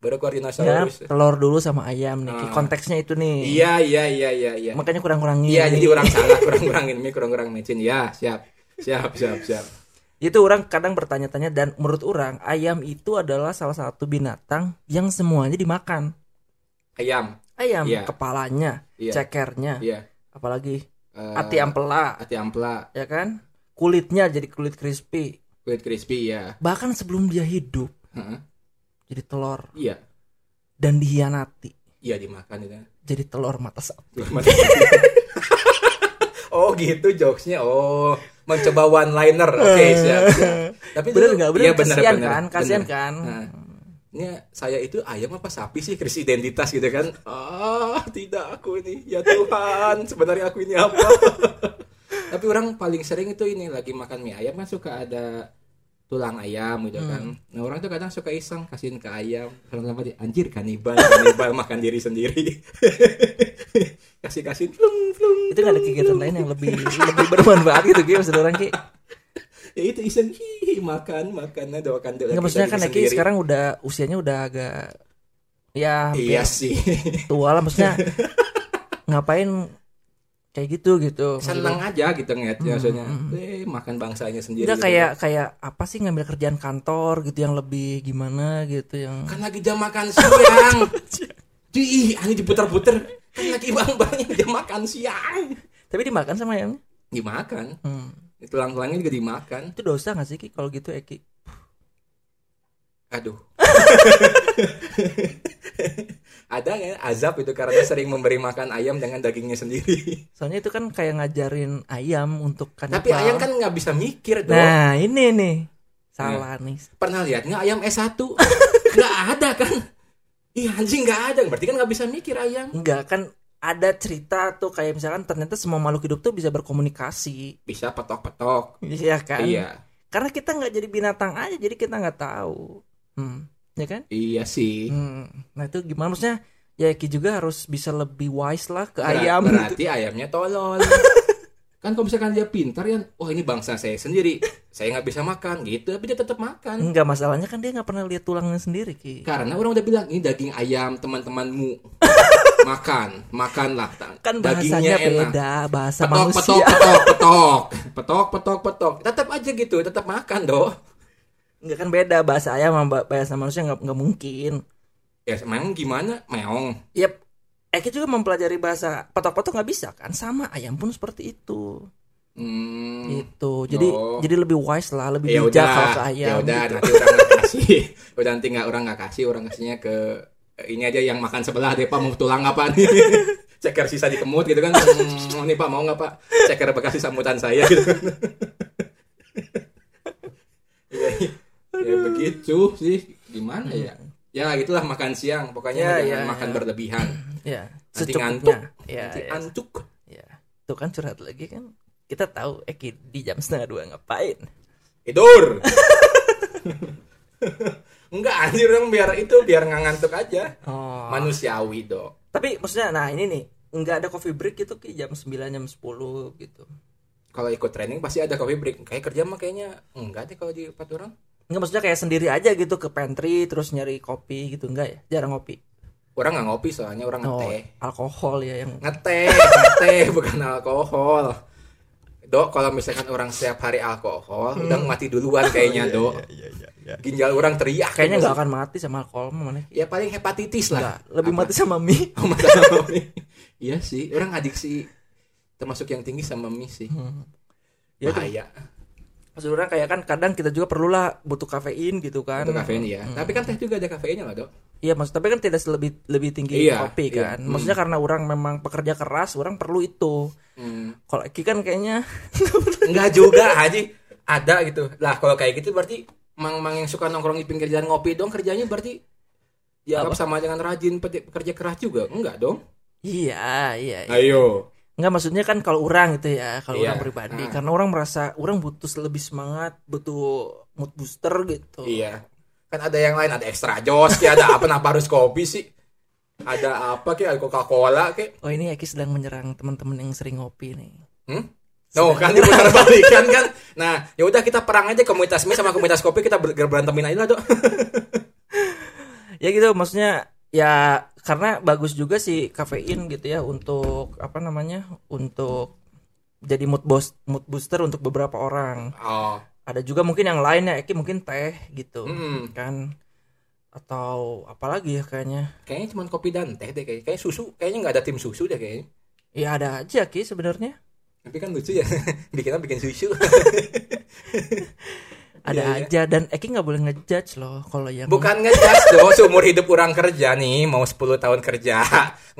Baru keluar
Ya,
dinosaurus.
telur dulu sama ayam nih.
Ah.
Konteksnya itu nih.
Iya, iya, iya, iya, iya.
Makanya kurang-kurangin.
Iya, jadi orang salah, kurang-kurangin mie, kurang-kurang mecin. Ya, siap. Siap, siap, siap.
Itu orang kadang bertanya-tanya dan menurut orang ayam itu adalah salah satu binatang yang semuanya dimakan.
Ayam.
Ayam
Iya.
kepalanya,
Iya.
cekernya,
Iya.
apalagi
Eh,
ati ampela,
Ati ampla,
ya kan? Kulitnya jadi kulit crispy.
kulit crispy ya.
Bahkan sebelum dia hidup
Heeh.
jadi telur
Iya.
dan dihianati
Iya dimakan itu.
jadi telur mata sapi.
oh gitu jokesnya. Oh, mencoba one liner. Oke, siap. siap. Tapi
Bener
dulu-
nggak? Bener
Iya, bener,
kasihan
bener,
kan? Kasihan
bener.
kan?
Nah. Ini saya itu ayam apa sapi sih krisis identitas gitu kan? Ah, tidak aku ini. Ya Tuhan, sebenarnya aku ini apa? Tapi orang paling sering itu ini lagi makan mie ayam kan suka ada tulang ayam gitu
Hmm.
kan. Nah orang tuh kadang suka iseng kasihin ke ayam. Karena apa dia anjir kanibal, kanibal makan diri sendiri. kasih kasih flung flung.
itu nggak ada kegiatan lain yang lebih lebih bermanfaat gitu Ki maksud orang Ki
Ya itu iseng hihi makan makan ada makan doang.
nggak maksudnya kan Ki sekarang udah usianya udah agak ya hampir
Iya sih.
tua lah maksudnya ngapain kayak gitu gitu Maksud
Seneng aja gitu ngeliatnya
Hmm,
maksudnya.
hmm,
Eh makan bangsanya
gue,
sendiri.
nggak
gitu.
kayak kayak apa sih ngambil kerjaan kantor gitu yang lebih gimana gitu yang
kan lagi jam makan siang. Di ih, aneh diputer-puter. Kan lagi bang-bangnya jam makan siang.
tapi dimakan sama ayamnya
Dimakan.
Hmm.
Tulang-tulangnya juga dimakan.
itu dosa nggak sih Ki kalau gitu Eki
Aduh. Ada nggak ya azab itu karena sering memberi makan ayam dengan dagingnya sendiri.
soalnya itu kan kayak ngajarin ayam untuk kanibal
Tapi ayam kan nggak bisa mikir dong. Iya.
nah ini nih salah nih
Pernah lihat nggak ayam S1? nggak ada kan? Ih anjing nggak ada. Berarti kan nggak bisa mikir ayam.
Enggak kan ada cerita tuh kayak misalkan ternyata semua makhluk hidup tuh bisa berkomunikasi
Bisa petok-petok.
ya kan
Iya.
karena kita nggak jadi binatang aja jadi kita nggak tahu hmm. ya kan
Iya sih.
hmm. nah itu gimana maksudnya ya Ki juga harus bisa lebih wise lah ke
Berat-
ayam gitu.
berarti ayamnya tolol kan kalau misalkan dia pintar ya wah ini bangsa saya sendiri saya nggak bisa makan gitu tapi dia tetap makan
enggak masalahnya kan dia nggak pernah lihat tulangnya sendiri Ki
karena orang udah bilang ini daging ayam teman-temanmu makan makanlah Ta-
kan
dagingnya
bahasanya
enak
beda bahasa
petok
manusia
petok petok petok petok petok petok tetap aja gitu tetap makan doh
enggak kan beda bahasa ayam sama ba- bahasa manusia nggak nggak mungkin
ya memang gimana meong
Yap. Eki juga mempelajari bahasa petok-petok nggak bisa kan sama ayam pun seperti itu
hmm.
gitu jadi
Oh.
jadi lebih wise lah lebih
ya
bijak
udah
kalau ke
ya
ayam
udah
gitu.
nanti orang nggak kasih udah nanti nggak orang nggak kasih orang kasihnya ke eh, ini aja yang makan sebelah deh pak mau tulang apa nih ceker sisa di kemut gitu kan hmm, nih pak mau nggak pak ceker bekas sisa mutan saya gitu kan ya, ya begitu sih gimana ya ya gitulah makan siang pokoknya
Ya,
jangan
ya,
makan
ya.
berlebihan
ya
Nanti ngantuk,
secukupnya ya,
Nanti
ya.
antuk
ya. tuh kan curhat lagi kan kita tahu Eki di jam setengah dua ngapain
tidur enggak anjir dong biar itu biar nggak ngantuk aja
oh
manusiawi dong
tapi maksudnya nah ini nih nggak ada coffee break gitu ki jam 9 jam 10 gitu
kalau ikut training pasti ada coffee break kayak kerja mah kayaknya enggak deh kalau di empat orang
nggak maksudnya kayak sendiri aja gitu ke pantry terus nyari kopi gitu enggak ya jarang ngopi
orang nggak ngopi soalnya orang
oh
ngeteh
alkohol ya yang
ngeteh ngeteh bukan alkohol dok kalau misalkan orang setiap hari alkohol
Hmm.
udah mati duluan
Iya,
kayaknya dok ginjal orang teriak gitu.
kayaknya nggak akan mati sama alkohol mah mana
ya paling hepatitis
Nggak,
lah
lebih
Apa?
mati sama mie
Oh, mata sama mie. iya sih orang adiksi termasuk yang tinggi sama mie sih
Ya, itu-
bahaya
maksud orang kayak kan kadang kita juga perlulah butuh kafein gitu kan
untuk kafein ya tapi kan teh juga ada kafeinnya loh dok
Iya maksud tapi kan tidak lebih lebih tinggi
Iya,
kopi
iya.
kan. Maksudnya karena orang memang pekerja keras, orang perlu itu.
Hmm.
Kalau Eki kan kayaknya
Enggak juga Haji Ada gitu Lah kalau kayak gitu berarti Mang-mang yang suka nongkrong di pinggir jalan ngopi dong Kerjanya berarti Dianggap sama dengan rajin pe- pekerja keras juga Enggak dong
iya iya. iya.
Ayo
Nggak maksudnya kan kalau orang gitu ya, kalau
Iya.
orang pribadi
Ah.
karena orang merasa orang butuh lebih semangat, butuh mood booster gitu.
Iya Kan ada yang lain Ada extra jos kayak Ada apa Kenapa harus kopi sih Ada apa kayak Ada coca cola kayak
Oh ini Eki sedang menyerang teman-teman yang sering ngopi nih.
Hmm? No, kan diputar balikan kan. Nah, ya udah kita perang aja komunitas mie sama komunitas kopi kita ber- berantemin aja lah, Dok.
Ya gitu maksudnya ya karena bagus juga sih kafein gitu ya untuk apa namanya? Untuk jadi mood boost mood booster untuk beberapa orang.
Oh.
ada juga mungkin yang lainnya Eki mungkin teh gitu
Mm-mm.
kan atau apalagi ya kayaknya
Kayaknya cuma kopi dan teh deh kayaknya. Kayaknya susu, kayaknya nggak ada tim susu deh kayaknya.
ya ada aja Ki sebenarnya
Tapi kan lucu ya, bikinnya bikin susu.
ada
Iya, iya.
aja dan Eki nggak boleh ngejudge loh kalau yang
Bukan ngejudge dong, seumur hidup orang kerja nih, mau 10 tahun kerja,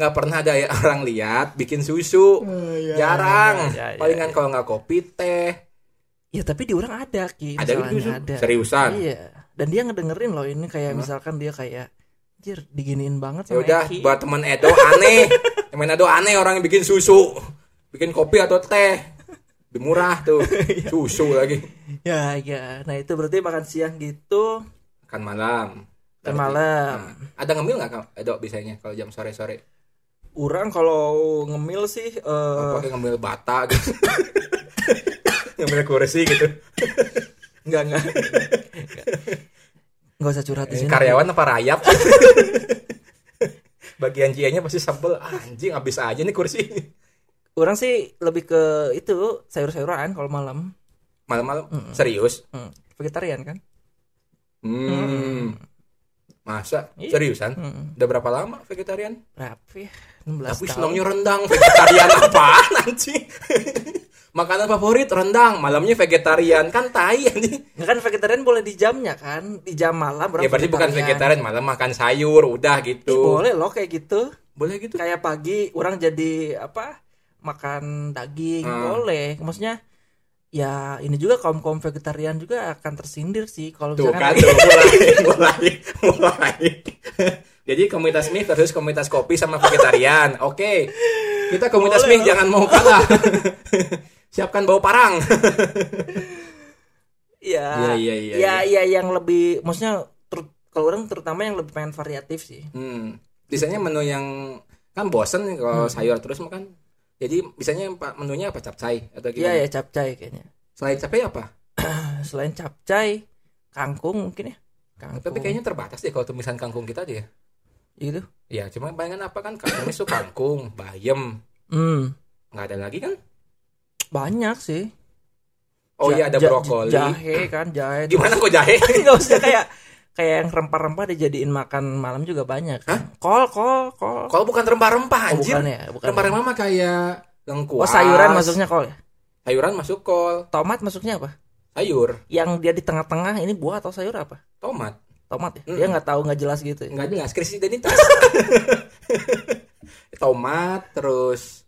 nggak pernah ada ya orang lihat bikin susu. Jarang.
Oh, iya, iya,
Palingan
iya.
kalau nggak kopi teh.
ya tapi di orang ada Ki
Ada
masalahnya
gitu susu?
Iya, ada
Seriusan?
iya dan dia ngedengerin loh ini kayak
Hah?
misalkan dia kayak Jir, diginiin banget
Ya
sama
udah
Eki.
buat teman Edo aneh. teman Edo aneh orang yang bikin susu. Bikin kopi atau teh. Lebih murah tuh.
Iya.
Susu lagi.
ya ya nah itu berarti makan siang gitu
Kan malam.
dan
Berarti-
malam
Nah, ada ngemil nggak Kak? dok biasanya kalau jam sore sore?
orang kalau ngemil sih eh,
Pakai ngemil bata gitu. ngemil kursi gitu.
Enggak, enggak. Enggak usah curhat di
Eh,
sini.
karyawan apa rayap? Bagian GI-nya pasti sebel anjing habis aja nih kursi.
Orang sih lebih ke itu sayur-sayuran kalau malam.
Malam-malam serius?
Hmm. Vegetarian kan?
Hmm. Masa
Iya.
seriusan?
Hmm.
Udah berapa lama vegetarian?
Berapa ya? 16
Tapi
tahun.
senangnya rendang. Vegetarian apaan anjing? Makanan favorit rendang, malamnya vegetarian kan tai anjing.
Nggak kan vegetarian boleh di jamnya kan? Di jam malam orang
Ya berarti bukan vegetarian, malam makan sayur, udah
Ih,
gitu.
boleh loh kayak gitu.
Boleh gitu.
Kayak pagi orang jadi apa? Makan daging
Hmm.
boleh. Maksudnya ya ini juga kaum-kaum vegetarian juga akan tersindir sih kalau
Tuh kan
misalkan
tuh, mulai mulai mulai. Jadi komunitas mie versus komunitas kopi sama vegetarian. Oke. Kita komunitas
Boleh
mie
loh.
jangan mau kalah. Siapkan bau parang. Iya,
Ya,
iya,
ya,
iya,
ya, yang lebih, maksudnya ter- kalau orang terutama yang lebih pengen variatif sih.
Hmm.
Gitu.
Biasanya menu yang kan bosen nih kalau
Hmm.
sayur terus makan. Jadi biasanya yang pa- menunya apa capcay atau
Iya
gimana?
ya capcay kayaknya.
Selain capcay apa?
Nah, Selain capcay, kangkung mungkin ya. Kangkung.
Tapi kayaknya terbatas deh kalau tumisan kangkung kita aja ya.
gitu.
Ya, cuma bayangan apa kan kangkung itu kangkung, bayam,
Hmm,
nggak ada lagi kan?
banyak sih.
Oh
Ja-
iya ada
ja-
brokoli.
Jahe kan, jahe.
Gimana kok jahe?
Enggak usah kayak kayak yang rempah-rempah dijadiin makan malam juga banyak. kan. Kol, kol, kol.
Kalau bukan rempah-rempah
Oh,
anjir.
bukan ya, bukan.
Rempah-rempah mah kayak lengkuas.
Oh, sayuran masuknya kol ya?
Sayuran masuk kol,
Tomat masuknya apa?
sayur,
Yang dia di tengah-tengah ini buah atau sayur apa?
tomat.
Tomat ya.
Mm-mm.
Dia nggak tahu nggak jelas gitu. ya?
Enggak jelas krisis identitas. tomat terus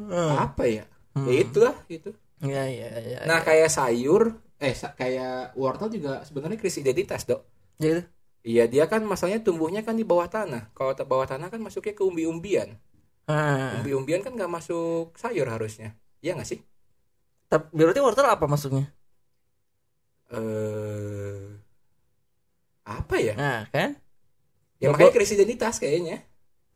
Hmm.
apa ya? Ya itulah gitu.
Iya iya iya.
Nah, kayak sayur eh sa- kayak wortel juga sebenarnya krisis identitas, Dok.
jadi
Iya, dia kan masalahnya tumbuhnya kan di bawah tanah. Kalau ke bawah tanah kan masuknya ke umbi-umbian.
ah,
Umbi-umbian kan nggak masuk sayur harusnya. Iya nggak sih?
tapi berarti wortel apa maksudnya?
Eh apa ya?
Nah, kan?
Ya
Bapak-
makanya krisis identitas kayaknya.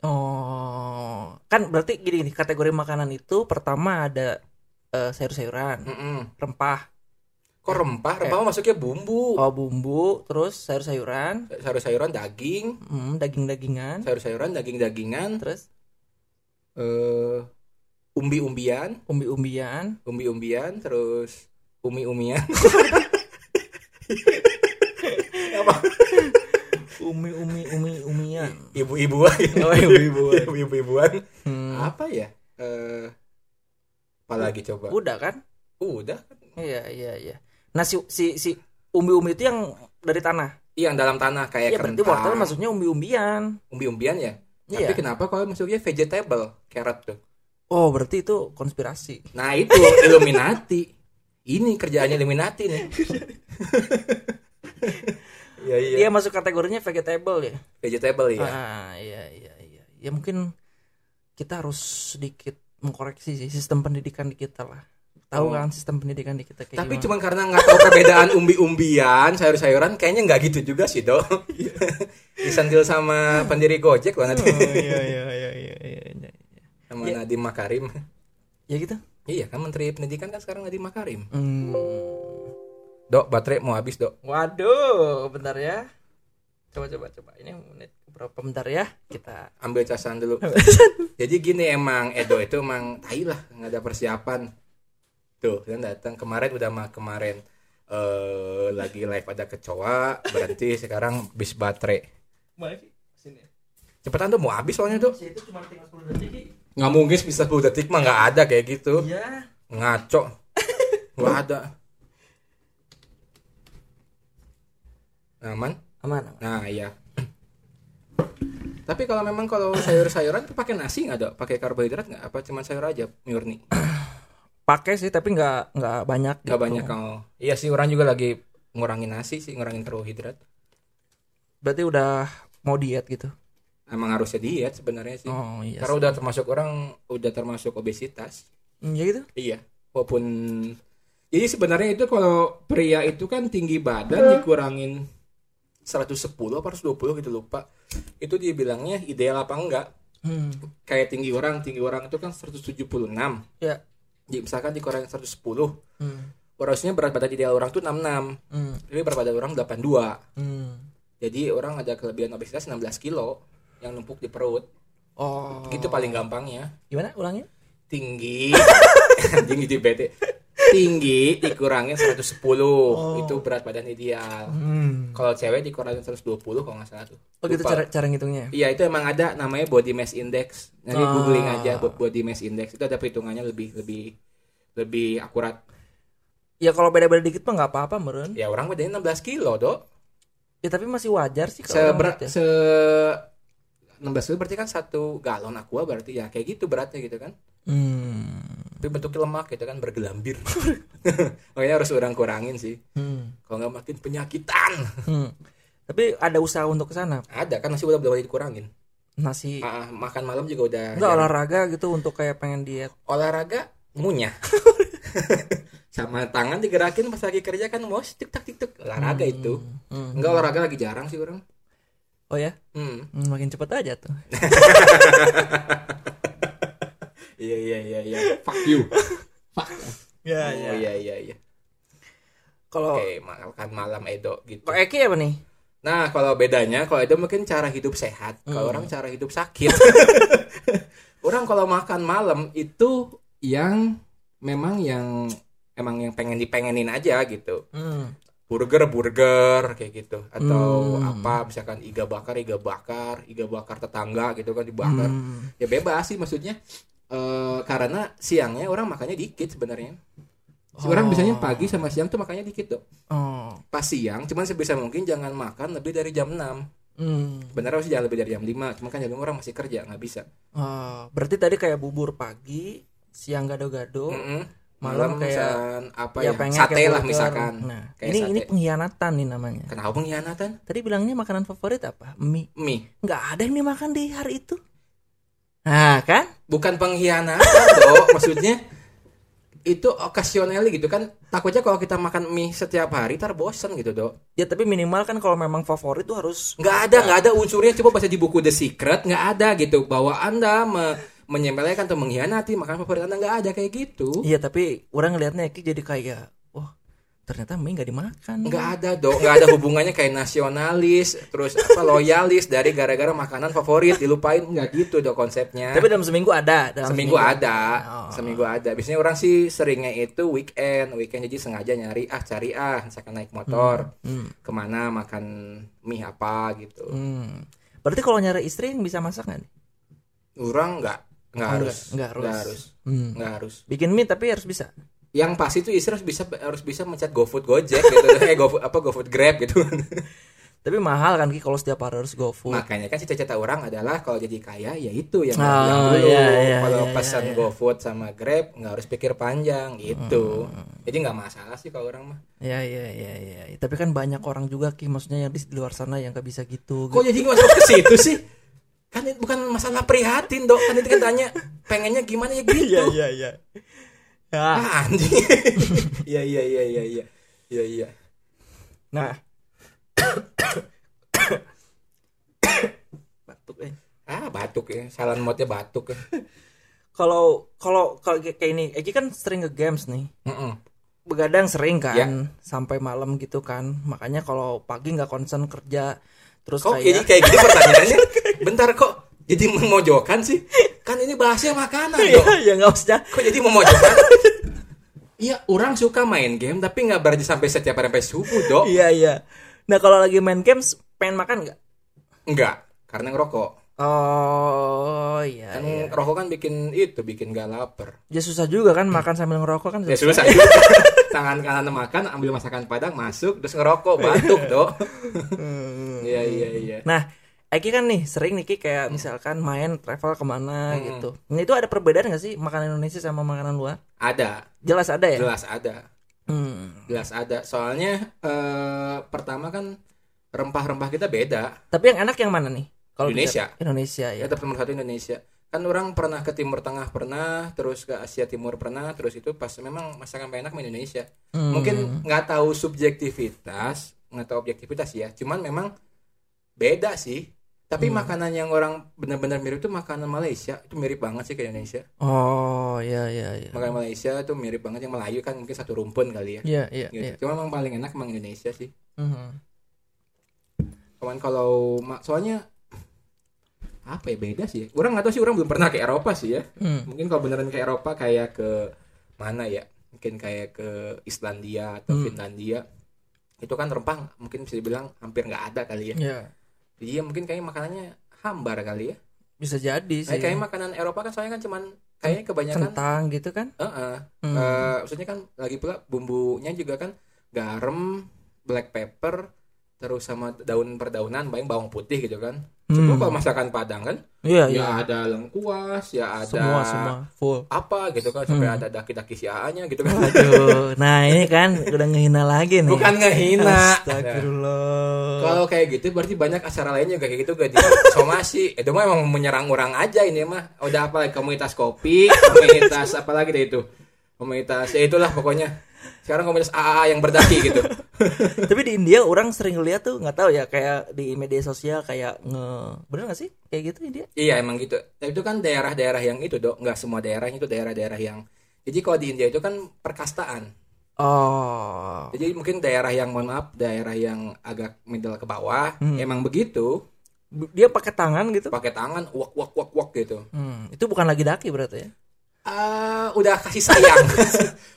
Oh, kan berarti gini nih kategori makanan itu pertama ada eh, sayur-sayuran,
Mm-mm.
rempah,
Kok rempah? Rempah mah masuknya bumbu. Eh,
oh bumbu, terus sayur-sayuran,
Sayur-sayuran daging,
hmm, daging-dagingan,
sayur-sayuran daging-dagingan,
terus
eh umbi-umbian,
umbi-umbian.
umbi-umbian terus umi-umian. Apa?
Umi-umi umi umian.
Ibu-ibuan.
Oh, ibu-ibuan.
Ibu-ibuan.
Hmm.
Apa ya? Eh apalagi coba?
Udah kan?
Udah.
Iya iya iya. Nah si si si umbi-umbi itu yang dari tanah.
Iya, yang dalam tanah kayak
Iya, berarti
kentang,
wortel masuknya umbi-umbian.
umbi-umbian ya.
Iya.
Tapi kenapa kalau masuknya vegetable, carrot tuh?
Oh, berarti itu konspirasi.
Nah itu Illuminati. Ini kerjaannya Illuminati nih. Iya iya.
Dia masuk kategorinya vegetable ya.
Vegetable ya.
Ah, iya iya iya. Ya mungkin kita harus sedikit mengkoreksi sih sistem pendidikan di kita lah. Tahu
Oh.
kan sistem pendidikan di kita kayak
Tapi
gimana?
cuma karena nggak tahu perbedaan umbi-umbian, sayur-sayuran, kayaknya nggak gitu juga sih dong. Disandil sama pendiri Gojek loh nanti,
iya iya iya iya iya. iya.
sama Nadiem Makarim.
Ya gitu.
Iya kan Menteri Pendidikan kan sekarang Nadiem Makarim.
Hmm.
Dok, baterai mau habis dok.
Waduh, bentar ya. Coba coba coba. Ini menit berapa bentar ya? Kita
Ambil casan dulu. Jadi gini emang Edo itu emang tai lah nggak ada persiapan. Tuh dan datang kemarin udah mah kemarin eh lagi live ada kecoa berhenti sekarang bis baterai.
Mana sih? Sini.
Cepetan tuh mau habis soalnya tuh.
itu cuma tinggal 10 detik. Ki.
Nggak mungkin bisa 10 detik mah nggak ada kayak gitu.
Iya.
Ngaco. Nggak ada. Aman?
Aman aman.
Nah iya. Tapi kalau memang kalau sayur-sayuran tuh pakai nasi nggak dok? Pakai karbohidrat nggak? Apa cuma sayur aja murni?
Pakai sih tapi nggak nggak banyak.
Gak
gitu.
banyak kalau Iya sih orang juga lagi ngurangin nasi sih ngurangin karbohidrat.
Berarti udah mau diet gitu.
Emang harusnya diet sebenarnya sih.
Oh iya.
Karena udah termasuk orang udah termasuk obesitas.
Hmm, Ya gitu.
Iya. walaupun jadi sebenarnya itu kalau pria itu kan tinggi
Iya.
badan dikurangin 110 apa 120 gitu lupa itu dibilangnya ideal apa enggak
Hmm.
kayak tinggi orang tinggi orang itu kan 176
Ya.
Jadi misalkan dikurangin 110
Hmm.
harusnya berat badan ideal orang tuh 66
Hmm.
tapi berat badan orang 82
Hmm.
jadi orang ada kelebihan obesitas 16 kilo yang numpuk di perut
Oh.
gitu paling gampangnya
Gimana ulangnya?
tinggi tinggi di PT tinggi dikurangin 110 itu berat badan ideal
Oh. Hmm.
kalau cewek dikurangin 120 kalau nggak salah tuh
Oh gitu
Lupa.
cara cara ngitungnya.
iya itu emang ada namanya body mass index nanti
Ah.
googling aja buat body mass index itu ada perhitungannya lebih lebih lebih akurat
Ya kalau beda-beda dikit mah nggak apa-apa meren.
ya orang badannya 16 kilo dok
Ya tapi masih wajar sih kalau orang
seberat
lihat ya.
se 16 kilo berarti kan satu galon aqua berarti ya kayak gitu beratnya gitu kan
Hmm.
tapi bentuknya lemak gitu kan bergelambir makanya harus orang kurangin sih
Hmm.
kalau nggak makin penyakitan
Hmm. Tapi ada usaha untuk ke sana.
ada kan nasi udah udah banyak dikurangin
Nasi
Ah, iya. ah, makan malam juga udah
enggak
jarang.
olahraga gitu untuk kayak pengen diet.
olahraga ngunyah sama tangan digerakin pas lagi kerja kan bos tik tak tik tuk olahraga itu
Hmm.
enggak olahraga lagi jarang sih orang
Oh ya,
hmm.
Hmm, makin cepet aja tuh.
iya iya iya iya fuck you fuck
Ya
oh iya iya iya
Kalau
oke makan malam edo gitu
Kok Eki apa nih?
nah kalau bedanya kalau edo mungkin cara hidup sehat
Hmm.
kalau orang cara hidup sakit orang kalau makan malam itu yang memang yang emang yang pengen dipengenin aja gitu
Hmm.
burger burger kayak gitu atau
Hmm.
apa misalkan iga bakar iga bakar iga bakar tetangga gitu kan dibakar
Hmm.
ya bebas sih maksudnya Eh, karena siangnya orang makannya dikit sebenarnya orang
Oh.
biasanya pagi sama siang tuh makannya dikit tuh
Oh.
pas siang cuman sebisa mungkin jangan makan lebih dari jam 6
Hmm.
sebenarnya harusnya jangan lebih dari jam 5 cuman kan jam 5 orang masih kerja nggak bisa
Oh, berarti tadi kayak bubur pagi, siang gado-gado,
Mm-mm.
Oh, malam kayak
misalkan Hmm. apa ya,
ya pengen
sate
kayak
lah
burger.
misalkan
Nah,
Kayak
ini
sate.
ini pengkhianatan nih namanya.
kenapa pengkhianatan
Tadi bilangnya makanan favorit apa? Mie.
mie
Nggak ada yang dimakan di hari itu. Nah, kan?
bukan pengkhianatan dok maksudnya itu occasionally gitu kan takutnya kalau kita makan mie setiap hari ntar bosen gitu dok
Ya tapi minimal kan kalau memang favorit tuh harus
nggak ada nggak ada unsurnya coba baca di buku The Secret nggak ada gitu bahwa anda me- menyepelekan atau mengkhianati makan favorit anda nggak ada kayak gitu
Iya, tapi orang ngelihatnya Eki jadi kayak wah, ternyata mie nggak dimakan.
nggak ada dok nggak ada hubungannya kayak nasionalis terus apa loyalis dari gara-gara makanan favorit dilupain nggak gitu dok konsepnya
Tapi dalam seminggu ada, dalam
seminggu ada
Oh.
seminggu ada biasanya orang sih seringnya itu weekend weekend jadi sengaja nyari ah cari ah misalkan naik motor
Hmm.
kemana makan mie apa gitu
Hmm. Berarti kalau nyari istri yang bisa masak nggak nih?
orang nggak nggak
Oh,
harus
nggak, nggak harus.
nggak harus
Hmm.
nggak harus
Bikin mie tapi harus bisa.
yang pasti tuh istri harus bisa harus bisa mencet GoFood Gojek gitu eh GoFood apa GoFood Grab gitu
Tapi mahal kan Ki kalau setiap hari harus GoFood.
makanya kan cita-cita orang adalah kalau jadi kaya ya itu yang
Nah, Oh,
bilang dulu
iya, iya,
kalau
iya,
pesan
iya.
GoFood sama Grab nggak harus pikir panjang gitu
Hmm.
jadi nggak masalah sih kalau orang mah
Ya ya ya ya. Tapi kan banyak orang juga Ki maksudnya yang di di luar sana yang gak bisa gitu.
Kok jadi masuk ke situ sih? Kan itu bukan masalah prihatin dok, kan itu kan tanya pengennya gimana ya gitu.
iya iya. Ya.
Ah, anjing. Iya iya iya iya iya. Iya iya.
Nah. Batuk eh.
Ah batuk ya, salan mode batuk ya.
Kalau kalau kalau kayak kayak ini, Eki kan sering ke games nih.
Mm-mm.
begadang sering kan
Ya.
sampai malam gitu kan makanya kalau pagi nggak konsen kerja terus
Kok jadi
kayak
kayak gitu pertanyaannya? Bentar kok jadi memojokan sih? Kan ini bahasnya makanan dok.
ya nggak usah
Kok jadi memojokan? Iya, orang suka main game tapi nggak berarti sampai setiap hari sampai subuh dok.
iya iya nah kalau lagi main games pengen makan nggak
Enggak, karena ngerokok.
oh iya,
Kan
iya
rokok kan bikin itu, bikin gak lapar.
ya susah juga kan makan sambil ngerokok kan
Hmm. Ya
susah.
susah juga. Tangan kanan makan, ambil masakan Padang, masuk, terus ngerokok, batuk, Dok. Iya, iya, iya.
Hmm. nah Eki kan nih sering nih Ki, kayak misalkan main travel kemana
Hmm.
gitu nah itu ada perbedaan nggak sih makanan Indonesia sama makanan luar
Ada,
jelas ada ya
jelas ada.
Hmm.
Jelas ada. Soalnya eh, pertama kan rempah-rempah kita beda.
tapi yang enak yang mana nih kalau
Indonesia.
bicara- Indonesia ya
Iya. Ya tetap nomor satu Indonesia. kan orang pernah ke Timur Tengah pernah terus ke Asia Timur pernah terus itu pas memang masakan paling enak mie Indonesia
Hmm.
mungkin nggak tahu subjektivitas nggak tahu objektivitas ya cuman memang beda sih tapi
Hmm.
makanan yang orang benar-benar mirip itu makanan Malaysia itu mirip banget sih ke Indonesia
Oh, ya ya ya.
makanan Malaysia itu mirip banget yang Melayu kan mungkin satu rumpun kali ya
Iya, iya,
gitu.
iya.
cuma memang paling enak memang Indonesia sih
Mhm.
Cuman kalau ma- soalnya apa ya beda sih ya. orang nggak tahu sih orang belum pernah ke Eropa sih ya
Hmm.
mungkin kalau beneran ke Eropa kayak ke mana ya mungkin kayak ke Islandia atau
Hmm.
Finlandia itu kan rempah mungkin bisa dibilang hampir nggak ada kali ya
Ya,
jadi ya mungkin kayak makanannya hambar kali ya
bisa jadi sih.
kayak, kayak makanan Eropa kan soalnya kan cuman kayaknya kebanyakan
Iya. kentang gitu kan?
eh, eh,
Hmm.
eh, maksudnya kan lagi pula bumbunya juga kan garam black pepper terus sama daun perdaunan paling bawang putih gitu kan Cuma
Hmm.
kalau masakan Padang kan, ya
Iya, iya.
ada lengkuas, ya ada
Semua semua full.
apa gitu kan, sampai
Hmm.
ada daki-daki si A-nya gitu kan.
Aduh, nah ini kan udah ngehina lagi nih.
Bukan ngehina. Nah,
Astagfirullah.
Kalau kayak gitu berarti banyak acara lainnya juga kayak gitu gak di somasi. Itu mah emang menyerang orang aja ini mah. Udah apalagi komunitas kopi, komunitas apalagi deh itu. Komunitas ya itulah pokoknya. Sekarang komunitas AA yang berdaki gitu.
Tapi di India orang sering lihat tuh nggak tahu ya kayak di media sosial kayak nge bener gak sih kayak gitu India?
Iya emang gitu. Tapi itu kan daerah-daerah yang itu dok, nggak semua daerahnya itu daerah-daerah yang. Jadi kalau di India itu kan perkastaan.
Oh,
Jadi mungkin daerah yang mohon maaf, daerah yang agak middle ke bawah,
Hmm.
emang begitu,
Bu- dia pakai tangan gitu?
pakai tangan wak wak wak wak gitu.
Hmm, itu bukan lagi daki berarti ya?
Ah, udah kasih sayang.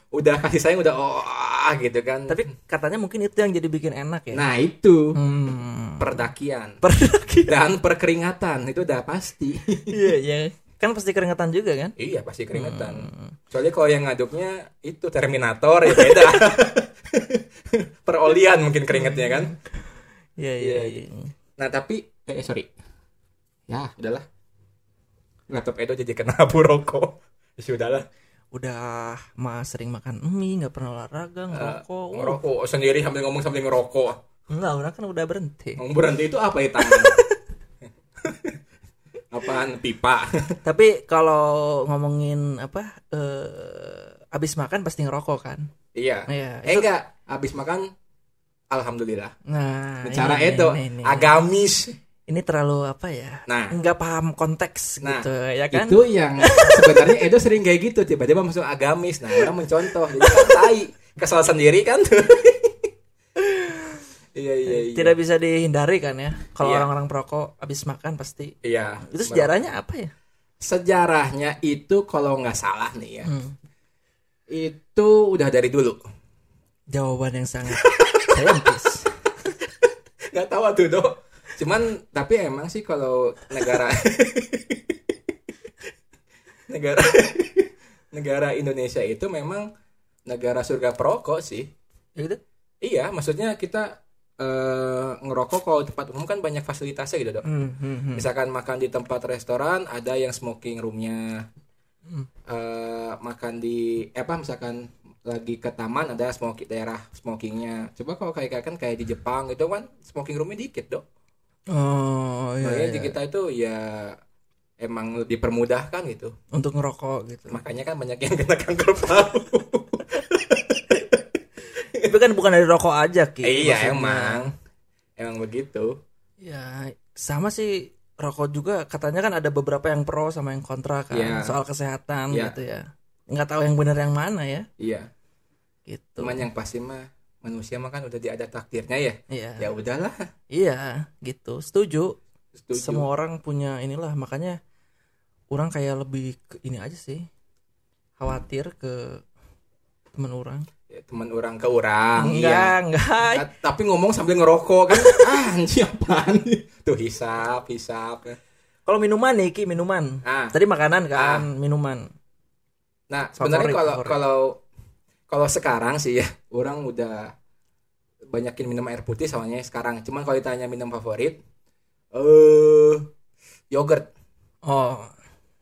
udah kasih sayang udah oh, ah, gitu kan.
Tapi katanya mungkin itu yang jadi bikin enak ya.
nah itu
Hmm.
perdakian
Per
dan perkeringatan itu udah pasti.
Iya, iya. Kan pasti keringetan juga kan?
iya, pasti keringetan. Soalnya kalau yang ngaduknya itu Terminator ya beda. Perolian mungkin keringetnya kan.
Iya,
Iya,
iya, iya.
Nah tapi eh sorry Ya udahlah Laptop Edo jadi kena abu rokok Ya sudahlah
Udah mah sering makan mie, nggak pernah olahraga,
uh.
ngerokok. Wah,
Eh, Ngerokok sendiri sambil ngomong sambil ngerokok
Enggak, orang kan udah berhenti.
Ngomong berhenti itu apa ya tangan Apaan pipa
Tapi kalau ngomongin apa eh abis makan pasti ngerokok kan?
Iya
Iya.
Eh
itu-
enggak Abis makan Alhamdulillah
Nah,
Bicara
ini-
Edo
ini, ini.
Agamis
Ini terlalu apa ya?
Nah.
nggak paham konteks
Nah,
gitu ya kan?
Itu yang sebenarnya Edo sering kayak gitu Tiba-tiba masuk agamis Nah orang mencontoh Jadi kan tai Kesal sendiri kan Iya iya iya
Tidak bisa dihindari kan ya? Kalau
Iya.
orang-orang perokok abis makan pasti.
Iya.
Itu sejarahnya apa ya?
Sejarahnya itu kalau nggak salah nih ya,
Hmm,
itu udah dari dulu.
jawaban yang sangat saintis.
Nggak tahu tuh dok. Cuman tapi emang sih kalau negara negara negara Indonesia itu memang negara surga perokok sih.
Ya gitu.
Iya, maksudnya kita eh, ngerokok kalau di tempat umum kan banyak fasilitasnya gitu dok.
Hmm, hmm, hmm.
Misalkan makan di tempat restoran ada yang smoking roomnya,
Hmm.
Eh, makan di eh, apa misalkan lagi ke taman ada smoking daerah smokingnya. Coba kalau kayak kan kayak di Jepang itu kan smoking roomnya dikit dok.
Oh, iya,
Makanya
iya.
di kita itu ya emang dipermudahkan gitu.
Untuk ngerokok gitu.
Makanya kan banyak yang kena kanker paru.
Tapi kan bukan dari rokok aja, Ki.
iya
Maksudnya.
emang emang begitu.
Ya, sama sih rokok juga katanya kan ada beberapa yang pro sama yang kontra kan
Iya.
soal kesehatan
Iya.
gitu ya. Nggak tahu yang benar yang mana ya
Iya.
gitu.
Cuman yang pasti mah manusia mah kan udah diada takdirnya ya.
Iya.
Ya udahlah.
Iya, gitu. Setuju.
Setuju.
Semua orang punya inilah makanya orang kayak lebih ke ini aja sih. Khawatir ke temen orang.
Ya, teman orang ke orang.
enggak,
Iya.
enggak.
Ta- tapi ngomong sambil ngerokok kan ah anjing apaan nih? tuh hisap hisap
Kalau minuman nih, Ki, minuman.
ah
Tadi makanan kan, minuman.
nah sebenarnya
Favorit,
kalau
favorit.
kalau kalau sekarang sih ya orang udah banyakin minum air putih soalnya sekarang cuman kalau ditanya minum favorit eh yogurt
Oh,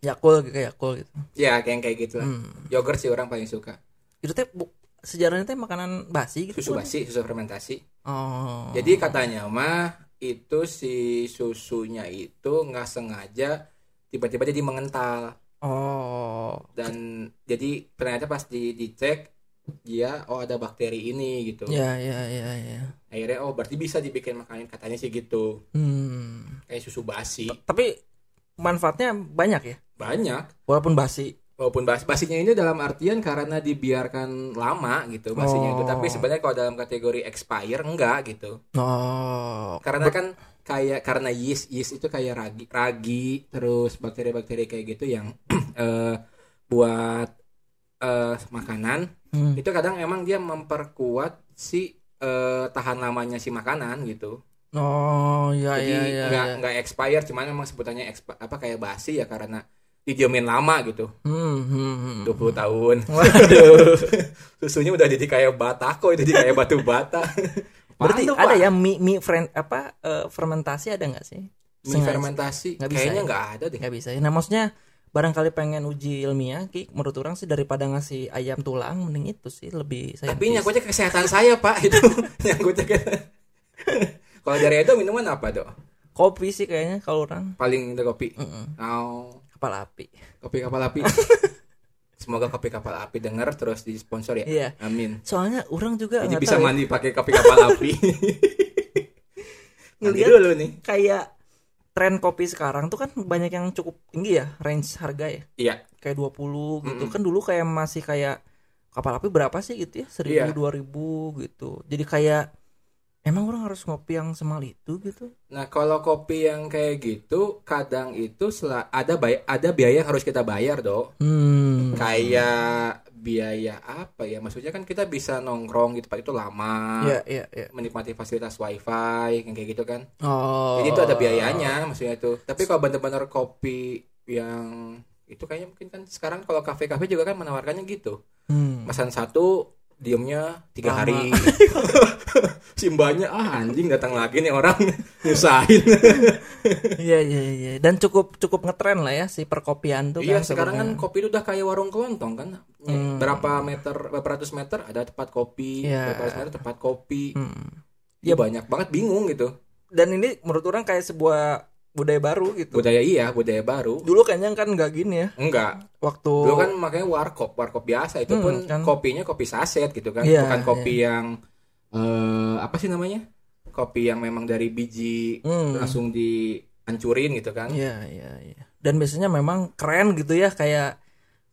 Yakul kayak Yakul gitu.
ya kayak kayak gitu lah
Hmm.
yogurt sih orang paling suka
itu teh bu- sejarahnya teh makanan basi gitu
susu
kan?
basi susu fermentasi
oh
Jadi katanya mah itu si susunya itu nggak sengaja tiba-tiba jadi mengental
Oh.
dan jadi ternyata pas di dicek dia oh ada bakteri ini gitu
Ya ya ya ya.
akhirnya oh berarti bisa dibikin makanan katanya sih gitu
Hmm.
kayak susu basi
Tapi manfaatnya banyak ya.
banyak
Walaupun basi.
walaupun bas basinya ini dalam artian karena dibiarkan lama gitu basinya itu
Oh.
tapi sebenarnya kalau dalam kategori expire enggak gitu
Oh.
karena kan kayak karena yeast yeast itu kayak ragi ragi terus bakteri-bakteri kayak gitu yang eh, buat eh, makanan
Hmm.
itu kadang emang dia memperkuat si eh, tahan lamanya si makanan gitu
Oh ya
jadi
ya ya.
nggak
ya.
nggak expire cuman emang sebutannya expi- apa kayak basi ya karena didiemin lama gitu
Hmm, hmm, hmm.
20 tahun
Waduh.
susunya udah jadi kayak batako jadi kayak batu bata
Berarti
Apaan tuh,
ada
Pak?
ya mie mie friend apa eh, fermentasi ada nggak sih?
mie
Sengaja.
fermentasi
Nggak bisa
kayaknya
ya?
nggak ada deh
nggak bisa ya. Nah maksudnya barangkali pengen uji ilmiah, Ki, menurut orang sih daripada ngasih ayam tulang mending itu sih lebih saya.
tapi nyangkutnya ke kesehatan saya pak itu nyangkutnya ke kalau dari itu minuman apa dok
kopi sih kayaknya kalau orang
paling itu kopi
Mm-mm.
Nah,
kapal api.
kopi kapal api semoga kopi kapal api dengar terus disponsor ya
Iya.
amin
Soalnya orang juga
jadi
nggak
bisa
tahu ya,
mandi pakai kopi kapal api mandi
Ngeliat-
dulu nih
kayak tren kopi sekarang tuh kan banyak yang cukup tinggi ya range harga ya.
iya
Kayak 20 gitu
Mm-mm.
kan dulu kayak masih kayak kapal api berapa sih gitu
Iya.
ya? 1000 2000 gitu. Jadi kayak emang orang harus ngopi yang semal itu gitu.
Nah, kalau kopi yang kayak gitu, kadang itu sela- ada bay- ada biaya yang harus kita bayar, Dok.
Hmm.
Kayak biaya apa ya? Maksudnya kan kita bisa nongkrong di tempat itu lama,
Iya, iya, iya.
menikmati fasilitas wifi, yang kayak gitu kan.
Oh.
Jadi itu ada biayanya, maksudnya itu. Tapi kalau bener-bener kopi yang itu kayaknya mungkin kan sekarang kalau kafe-kafe juga kan menawarkannya gitu.
Hmm.
Pesan satu, diemnya tiga
Lama.
hari. si mbaknya, ah anjing datang lagi nih orang, nyusahin.
Iya iya iya. Dan cukup cukup ngetren lah ya si perkopian tuh
iya
kan
sekarang kan
sebenarnya.
kopi itu udah kayak warung kelontong kan
Hmm.
berapa meter berapa ratus meter ada tempat kopi
Iya.
berapa ratus meter tempat kopi
Hmm.
ya banyak banget bingung gitu
Dan ini menurut orang kayak sebuah budaya baru gitu.
budaya iya budaya baru
Dulu kayaknya kan nggak gini ya.
enggak
Waktu
dulu kan makanya warkop warkop biasa itu
Gitu. Hmm,
pun
kan.
kopinya kopi saset gitu kan
Iya,
bukan kopi yang eh, apa sih namanya kopi yang memang dari biji
Hmm.
langsung dihancurin gitu kan
Iya iya iya. Dan biasanya memang keren gitu ya kayak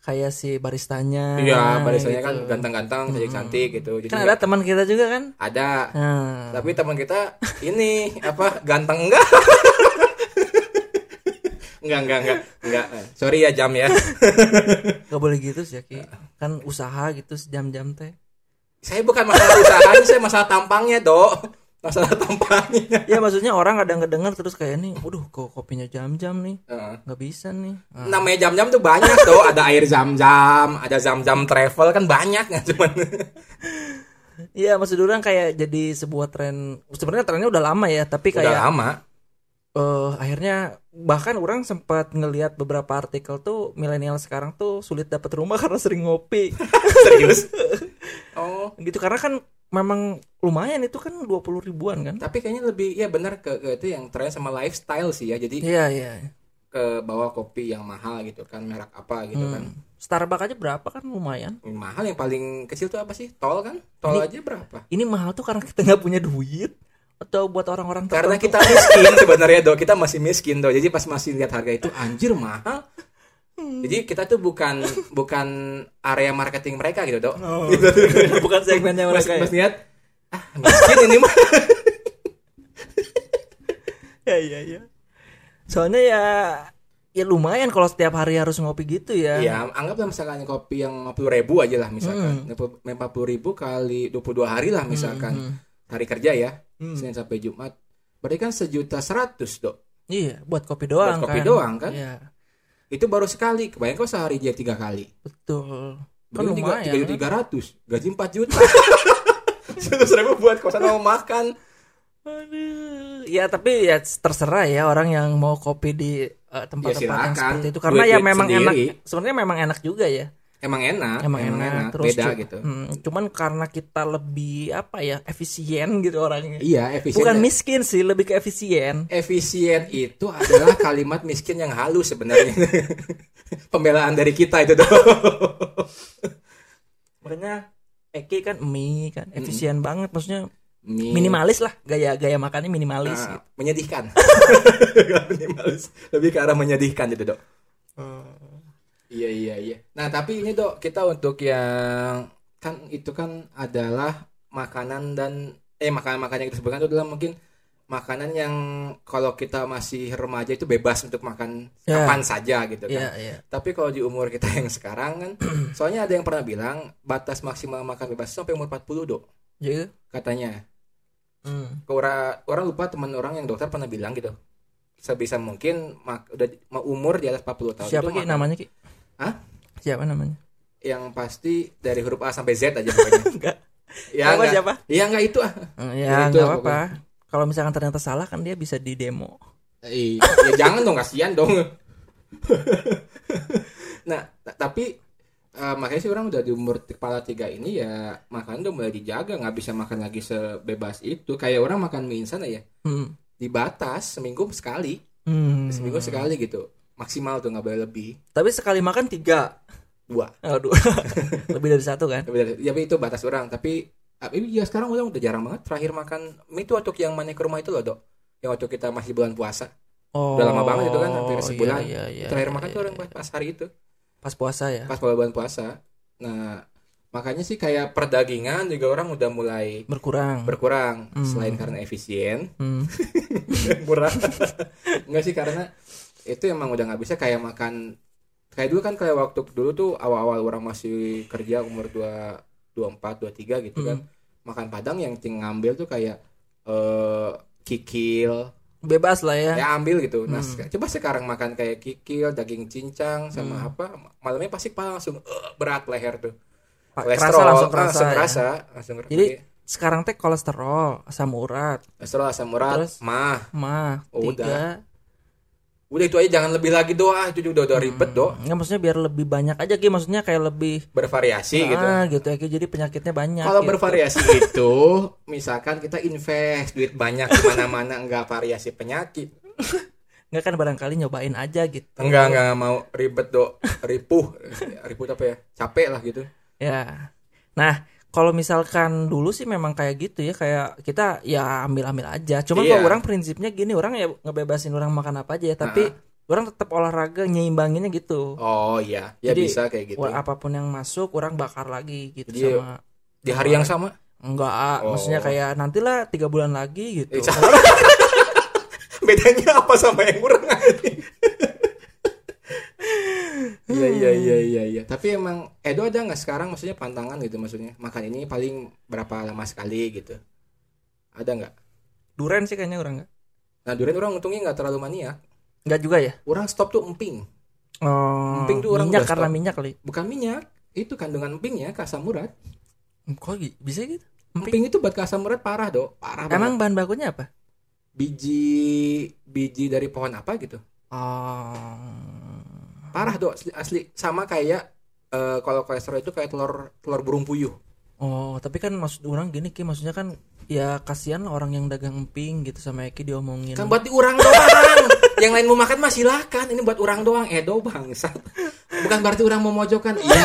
kayak si baristanya.
iya barisannya
gitu.
kan ganteng-ganteng cantik-cantik gitu jadi
Kan ada teman kita juga kan.
ada
Nah.
Tapi teman kita ini apa ganteng enggak? enggak, enggak, enggak. Enggak. Sorry ya jam ya.
Gak boleh gitu sih ya, Ki. Kan usaha gitu sejam-jam teh.
Saya bukan masalah usahanya, saya masalah tampangnya, Dok. Masalah tampangnya.
Ya maksudnya orang kadang kedengar terus kayak nih, waduh kok kopinya jam-jam nih.
Heeh.
nggak bisa nih.
Hmm.
Ah.
Namanya jam-jam tuh banyak tuh, ada air zam-zam, ada zam-zam travel kan banyak ya cuman.
Iya maksud orang kayak jadi sebuah tren. Sebenarnya trennya udah lama ya, tapi
Udah
kayak
lama.
eh, akhirnya bahkan orang sempat ngelihat beberapa artikel tuh milenial sekarang tuh sulit dapat rumah karena sering ngopi.
Serius. Oh,
gitu karena kan memang lumayan itu kan 20 ribuan kan.
tapi kayaknya lebih ya benar ke, ke itu yang tren sama lifestyle sih ya. Jadi
Iya iya.
ke bawa kopi yang mahal gitu kan, merek apa gitu kan.
Hmm. Starbucks aja berapa kan lumayan.
Mahal yang paling kecil tuh apa sih? Tol kan? Tol aja berapa?
Ini mahal tuh karena kita nggak punya duit atau buat orang-orang
Karena
tertentu.
kita miskin sebenarnya dok, kita masih miskin dok. Jadi pas masih lihat harga itu anjir mahal. Hmm. Jadi kita tuh bukan bukan area marketing mereka gitu dok.
Oh. bukan segmennya
Mas,
mereka. ya?
mas lihat ah miskin ini mah.
ya ya ya soalnya ya ya lumayan kalau setiap hari harus ngopi gitu ya
ya anggaplah misalkan kopi yang 50 ribu aja lah misalkan. 40 ribu kali 22 hari lah misalkan
Mm-mm.
hari kerja ya
Hmm.
Senin sampai Jumat. Berarti kan sejuta seratus dok.
iya buat kopi doang
Buat kopi
kan.
doang, kan?
Iya,
Itu baru sekali. Kebayang kok sehari dia tiga kali.
betul Kan
Belum tiga
lumayan,
tiga
kan?
tiga ratus, gaji empat juta. Seratus ribu buat kosan mau makan.
Aduh. ya tapi ya terserah ya orang yang mau kopi di eh, tempat-tempat yang
silakan.
seperti itu karena
Duit-duit
ya memang
sendiri.
enak sebenarnya memang enak juga ya
emang enak
emang enak, terus
beda
cu-
gitu
hmm, cuman karena kita lebih apa ya efisien gitu orangnya
iya efisien
bukan miskin sih lebih ke efisien
efisien itu adalah kalimat miskin yang halus sebenarnya pembelaan dari kita itu doang
makanya Eki kan mie kan
Mm-mm.
efisien banget maksudnya
Mi-
minimalis lah gaya gaya makannya minimalis
Nah,
gitu.
menyedihkan minimalis lebih ke arah menyedihkan itu dok
Hmm.
Iya iya iya. Nah tapi ini dok kita untuk yang kan itu kan adalah makanan dan eh makanan makanan yang disebutkan itu adalah mungkin makanan yang kalau kita masih remaja itu bebas untuk makan
Ya.
kapan saja gitu kan.
Iya, iya.
Tapi kalau di umur kita yang sekarang kan, soalnya ada yang pernah bilang batas maksimal makan bebas itu sampai umur 40 dok
Jadi,
katanya.
Iya. hmm.
Orang orang lupa teman orang yang dokter pernah bilang gitu. Sebisa mungkin mak- udah mau umur di atas 40 tahun itu
siapa ki
gitu makan-
namanya ki
Hah?
siapa namanya
yang pasti dari huruf A sampai Z aja pokoknya.
Enggak.
Ya
Siapa,
enggak.
siapa?
Ya enggak itu ah.
Hmm,
Ya,
ya
itu
nggak
lah
apa-apa kalau misalkan ternyata salah kan dia bisa di demo
Ih, ya jangan dong kasihan dong. nah, ta- tapi eh, makanya sih orang udah di umur t- kepala tiga ini ya makan udah mulai dijaga nggak bisa makan lagi sebebas itu kayak orang makan mie instan ya
hmm.
dibatas seminggu sekali
Hmm.
seminggu sekali gitu maksimal tuh nggak boleh lebih
tapi sekali makan tiga
dua
aduh lebih dari satu kan
Tapi dari- ya, tapi itu batas orang tapi ah, ini ya sekarang orang udah jarang banget terakhir makan mie itu waktu yang mana ke rumah itu loh dok yang waktu kita masih bulan puasa
oh
Udah lama banget itu kan, hampir
iya,
sebulan.
iya, iya,
terakhir
iya,
makan
iya,
tuh orang
iya.
pas hari itu
pas puasa ya
pas bulan puasa nah makanya sih kayak perdagingan juga orang udah mulai
berkurang
berkurang
Hmm.
selain karena efisien
Hmm.
murah enggak sih karena itu emang udah nggak bisa kayak makan kayak dulu kan kayak waktu dulu tuh awal-awal orang masih kerja umur dua dua empat dua tiga gitu kan
Hmm.
makan padang yang ting ngambil tuh kayak eh kikil
bebas lah ya
ya ambil gitu nah
Hmm.
seka- coba sekarang makan kayak kikil daging cincang sama
Hmm.
apa malamnya pasti kepala langsung eh, berat leher tuh
Pa-
Kolesterol,
kerasa langsung
ah,
kerasa, ya.
kerasa, langsung kerasa.
Jadi- sekarang teh kolesterol asam urat
kolesterol asam urat
Terus?
mah
mah
Oh,
tiga
udah itu aja jangan lebih lagi doa itu juga udah, udah ribet
Hmm.
dok
nggak maksudnya biar lebih banyak aja ki maksudnya kayak lebih
bervariasi gitu
ah, gitu ya Ki. jadi penyakitnya banyak
Kalau
gitu.
bervariasi itu, misalkan kita invest duit banyak kemana-mana nggak variasi penyakit,
nggak kan barangkali nyobain aja gitu
enggak nggak mau ribet dok, ripuh, ripuh apa ya, capek lah gitu.
Ya. Nah, kalau misalkan dulu sih memang kayak gitu ya, kayak kita ya ambil-ambil aja. Cuman
Iya.
kalau orang prinsipnya gini, orang ya ngebebasin orang makan apa aja ya, tapi orang tetap olahraga nyeimbanginnya gitu.
Oh iya, ya
Jadi,
bisa kayak gitu.
Wah, apapun yang masuk orang bakar lagi gitu
Jadi,
sama
Di hari yang sama,
enggak ah,
Oh.
maksudnya kayak nantilah tiga bulan lagi gitu.
Eh, jangan. bedanya apa sama yang kurang Iya iya iya iya iya. Tapi emang Edo ada nggak sekarang maksudnya pantangan gitu maksudnya makan ini paling berapa lama sekali gitu. Ada nggak?
Duren sih kayaknya orang enggak.
Nah durian orang untungnya nggak terlalu mania.
Enggak juga ya?
Orang stop tuh emping,
Oh,
Penting tuh orang
minyak
udah
karena
stop.
minyak kali.
bukan minyak. Itu kandungan empingnya asam urat.
Kok gi- bisa gitu? Emping.
Emping itu buat ke asam urat parah dok, parah banget.
Emang bahan bakunya apa?
Biji biji dari pohon apa gitu.
Oh.
Parah dok, asli, asli. sama kayak eh, kalau kolesterol itu kayak telur telur burung puyuh.
Oh, tapi kan maksud orang gini Ki, maksudnya kan ya kasihan lah orang yang dagang emping gitu sama Eki diomongin.
Kan buat diurang doang. yang lain mau makan mah silakan. Ini buat orang doang. Edo bangsat. Bukan berarti orang mau mojokan. Iya.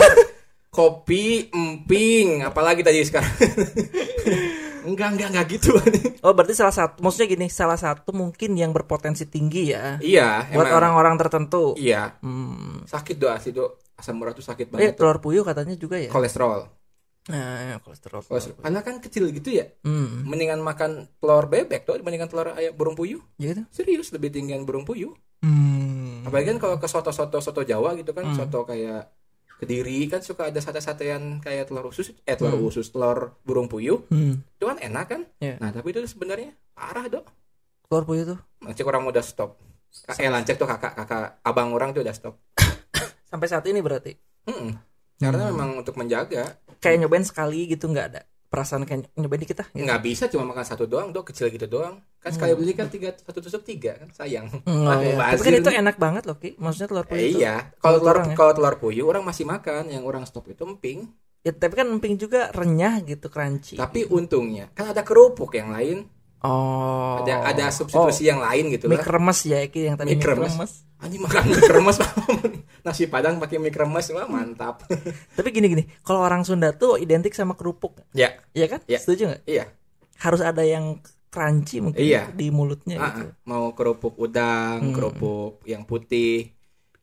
Kopi, emping, apalagi tadi sekarang. enggak, enggak, enggak gitu.
Oh, berarti salah satu maksudnya gini, salah satu mungkin yang berpotensi tinggi ya
iya,
buat
emang.
orang-orang tertentu.
Iya,
Hmm.
sakit doa sih do. Asam urat tuh sakit
Eh,
banget. tuh.
telur puyuh katanya juga ya.
Kolesterol.
Nah, ya, kolesterol.
Kolesterol. Padahal kan kecil gitu ya.
Hmm.
Mendingan makan telur bebek tuh dibandingkan telur ayam burung puyuh.
Gitu.
Serius lebih tinggian burung puyuh.
Hmm.
Apalagi kan kalau ke soto-soto soto Jawa gitu kan,
Hmm.
soto kayak Kediri kan suka ada sate-satean kayak telur usus, eh telur
Hmm.
usus, telur burung puyuh.
Hmm.
Itu kan enak kan?
Iya.
Nah, tapi itu sebenarnya parah, Dok.
Telur puyuh tuh
Lancek orang udah stop. Kak, eh lancek tuh kakak, kakak abang orang tuh udah stop.
sampai saat ini berarti
Mm-mm. Karena
Hmm.
memang untuk menjaga
kayak nyobain sekali gitu nggak ada. perasaan kayak nyobain dikit ah gitu.
nggak bisa cuma makan satu doang dok kecil gitu doang kan sekali beli kan tiga satu tusuk tiga kan sayang Aduh,
Hmm, oh, iya. Tapi
bazir
kan itu
nih.
enak banget loh Ki. Maksudnya telur
Eh,
puyuh itu.
iya kalau telur
Orang ya.
kalau telur puyuh orang masih makan yang orang stop itu emping
Ya, tapi kan emping juga renyah gitu crunchy.
tapi untungnya kan ada kerupuk yang lain
oh.
ada ada substitusi yang lain gitu
Oh, mie
lah
kremes ya Ki yang tadi
Mie
mie
kremes.
kremes.
anjing makan mie kremes nasi padang pakai mie kremes wah mantap
Tapi gini gini, kalau orang Sunda tuh identik sama kerupuk,
ya
ya kan?
Iya.
Setuju nggak?
iya
Harus ada yang crunchy mungkin
Iya.
di mulutnya
Ah,
gitu.
ah. mau kerupuk udang
Hmm.
kerupuk yang putih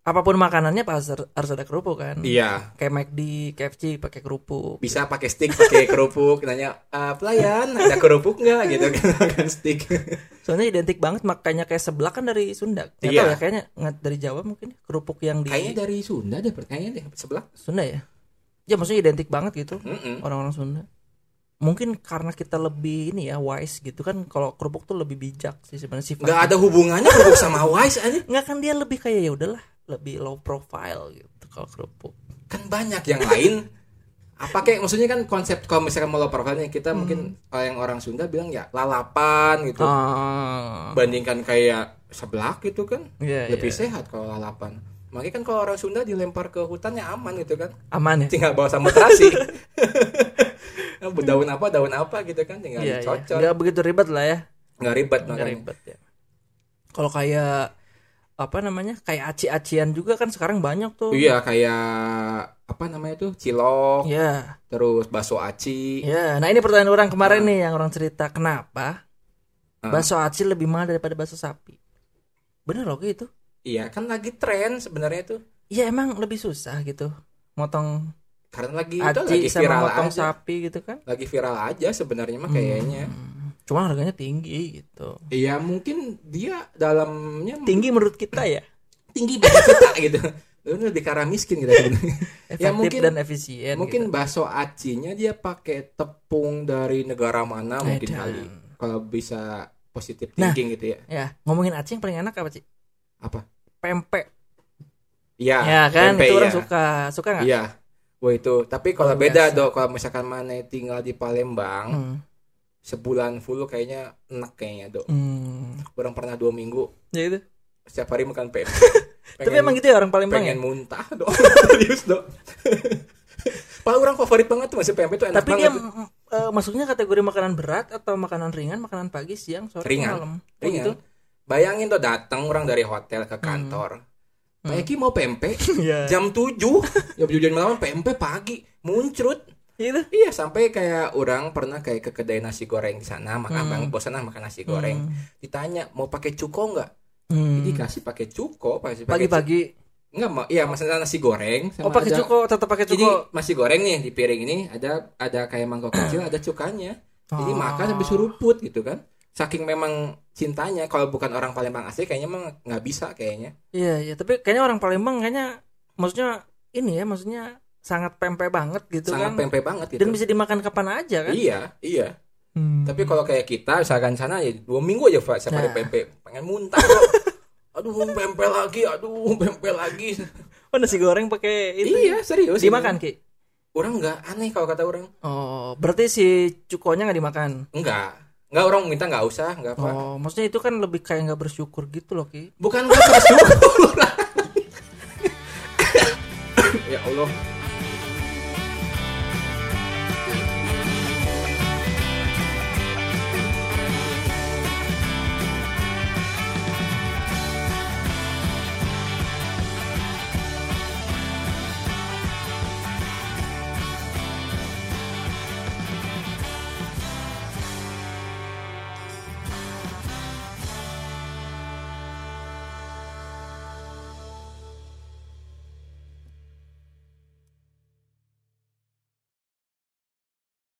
Apapun makanannya pas har- harus ada kerupuk kan?
iya
Kayak McD, KFC pakai kerupuk.
bisa pakai stick pakai kerupuk nanya "Ah, pelayan ada kerupuk nggak gitu kan makan stick
Soalnya identik banget makanya kayak seblak kan dari Sunda. Nggak
Iya.
tahu ya kayaknya nggak dari Jawa mungkin ya, kerupuk yang di
kayaknya dari Sunda deh kayaknya deh sebelah
Sunda ya. Ya maksudnya identik banget gitu
Mm-mm.
orang-orang Sunda. Mungkin karena kita lebih ini ya wise gitu kan kalau kerupuk tuh lebih bijak sih sebenarnya sifatnya.
nggak ada hubungannya kerupuk sama wise aja
Nggak kan dia lebih kayak ya udahlah lebih low profile gitu kalau kerupuk.
kan banyak yang lain apa kayak maksudnya kan konsep kalau misalkan mau low profile nih, kita
Hmm.
mungkin kalau yang orang Sunda bilang ya lalapan
Oh.
gitu
Ah.
bandingkan kayak seblak gitu kan
Iya,
lebih
iya.
sehat kalau lalapan makanya kan kalau orang Sunda dilempar ke hutannya aman gitu kan
aman ya.
tinggal bawa sama terasi daun apa daun apa gitu kan tinggal
Iya, iya.
dicocok
Nggak begitu ribet lah ya.
nggak ribet
Nggak
makanya
ribet ya. Kalau kayak apa namanya? Kayak aci-acian juga kan sekarang banyak tuh.
iya kayak apa namanya tuh cilok
Iya.
terus bakso aci
Ya, nah ini pertanyaan orang kemarin nih yang orang cerita kenapa
Ah.
bakso aci lebih mahal daripada bakso sapi? Bener loh gitu. Ki, itu?
iya kan lagi tren sebenarnya tuh
Iya emang lebih susah gitu, motong
karena lagi Iya, itu
aci
lagi viral
sama motong
aja
sapi gitu kan?
lagi viral aja sebenarnya mah kayaknya
Hmm, Cuma harganya tinggi gitu.
iya mungkin dia dalamnya
Tinggi menurut kita ya,
tinggi banget kita gitu Lu lebih ke arah miskin gitu
Iya,
sebenarnya
efektif
Ya, mungkin-
dan efisien. gitu.
mungkin bakso acinya dia pakai tepung dari negara mana
gitu.
mungkin
Edan.
kali kalau bisa positif
Nah.
thinking gitu ya
Ya ngomongin aci yang paling enak apa sih?
Apa?
Pempek.
iya
ya kan,
tempe,
itu orang
iya.
suka, suka nggak?
iya Wah itu, tapi kalau
Luar
beda
biasa.
dok, kalau misalkan mana tinggal di Palembang
Hmm.
sebulan full kayaknya enak kayaknya dok.
Hmm.
Orang pernah dua minggu
Ya gitu.
setiap hari makan pempek.
Tapi emang gitu ya orang Palembang ya.
pengen muntah dok serius dok Paling orang favorit banget tuh masih pempek tuh enak
Tapi dia
banget
mm, eh, masuknya kategori makanan berat atau makanan ringan, makanan pagi, siang, sore,
Ringan.
malam. Oh,
Ringan.
gitu.
Iya.
Hmm.
bayangin tuh datang orang dari hotel ke kantor Pak Eki mau pempek
Iya.
jam 7 jam 7 jam malam pempek pagi muncrut
Gitu.
iya sampai kayak orang pernah kayak ke kedai nasi goreng di sana makan
Hmm.
bang bosan ah makan nasi goreng ditanya mau pakai cuko nggak
Hmm.
jadi kasih pakai cuko pasti pakai
Pagi-pagi.
cu- nggak mau iya masalah nasi goreng sama
Oh, pakai
ada-
cuko, tetap pakai
jadi
cuko.
nasi goreng nih di piring ini ada ada kayak mangkok kecil ada cukanya Jadi
Oh.
makan sampai suruput gitu kan. Saking memang cintanya kalau bukan orang Palembang asli kayaknya emang nggak bisa kayaknya.
Iya, iya, tapi kayaknya orang Palembang kayaknya maksudnya ini ya, maksudnya sangat pempek banget gitu
Sangat
kan.
pempek banget gitu.
Dan bisa dimakan kapan aja kan?
Iya, iya.
Hmm.
Tapi kalau kayak kita misalkan sana ya dua minggu aja Pak sampai
Nah.
pempek pengen muntah. Pak. aduh pempek lagi, aduh pempek lagi.
oh, nasi goreng pakai itu. ya?
iya, serius.
Dimakan, Ki.
Orang nggak aneh kalau kata orang.
Oh, berarti si cukonya nggak dimakan.
Enggak. Enggak orang minta nggak usah, nggak apa.
Oh, maksudnya itu kan lebih kayak nggak bersyukur gitu loh, Ki.
Bukan nggak bersyukur. ya Allah.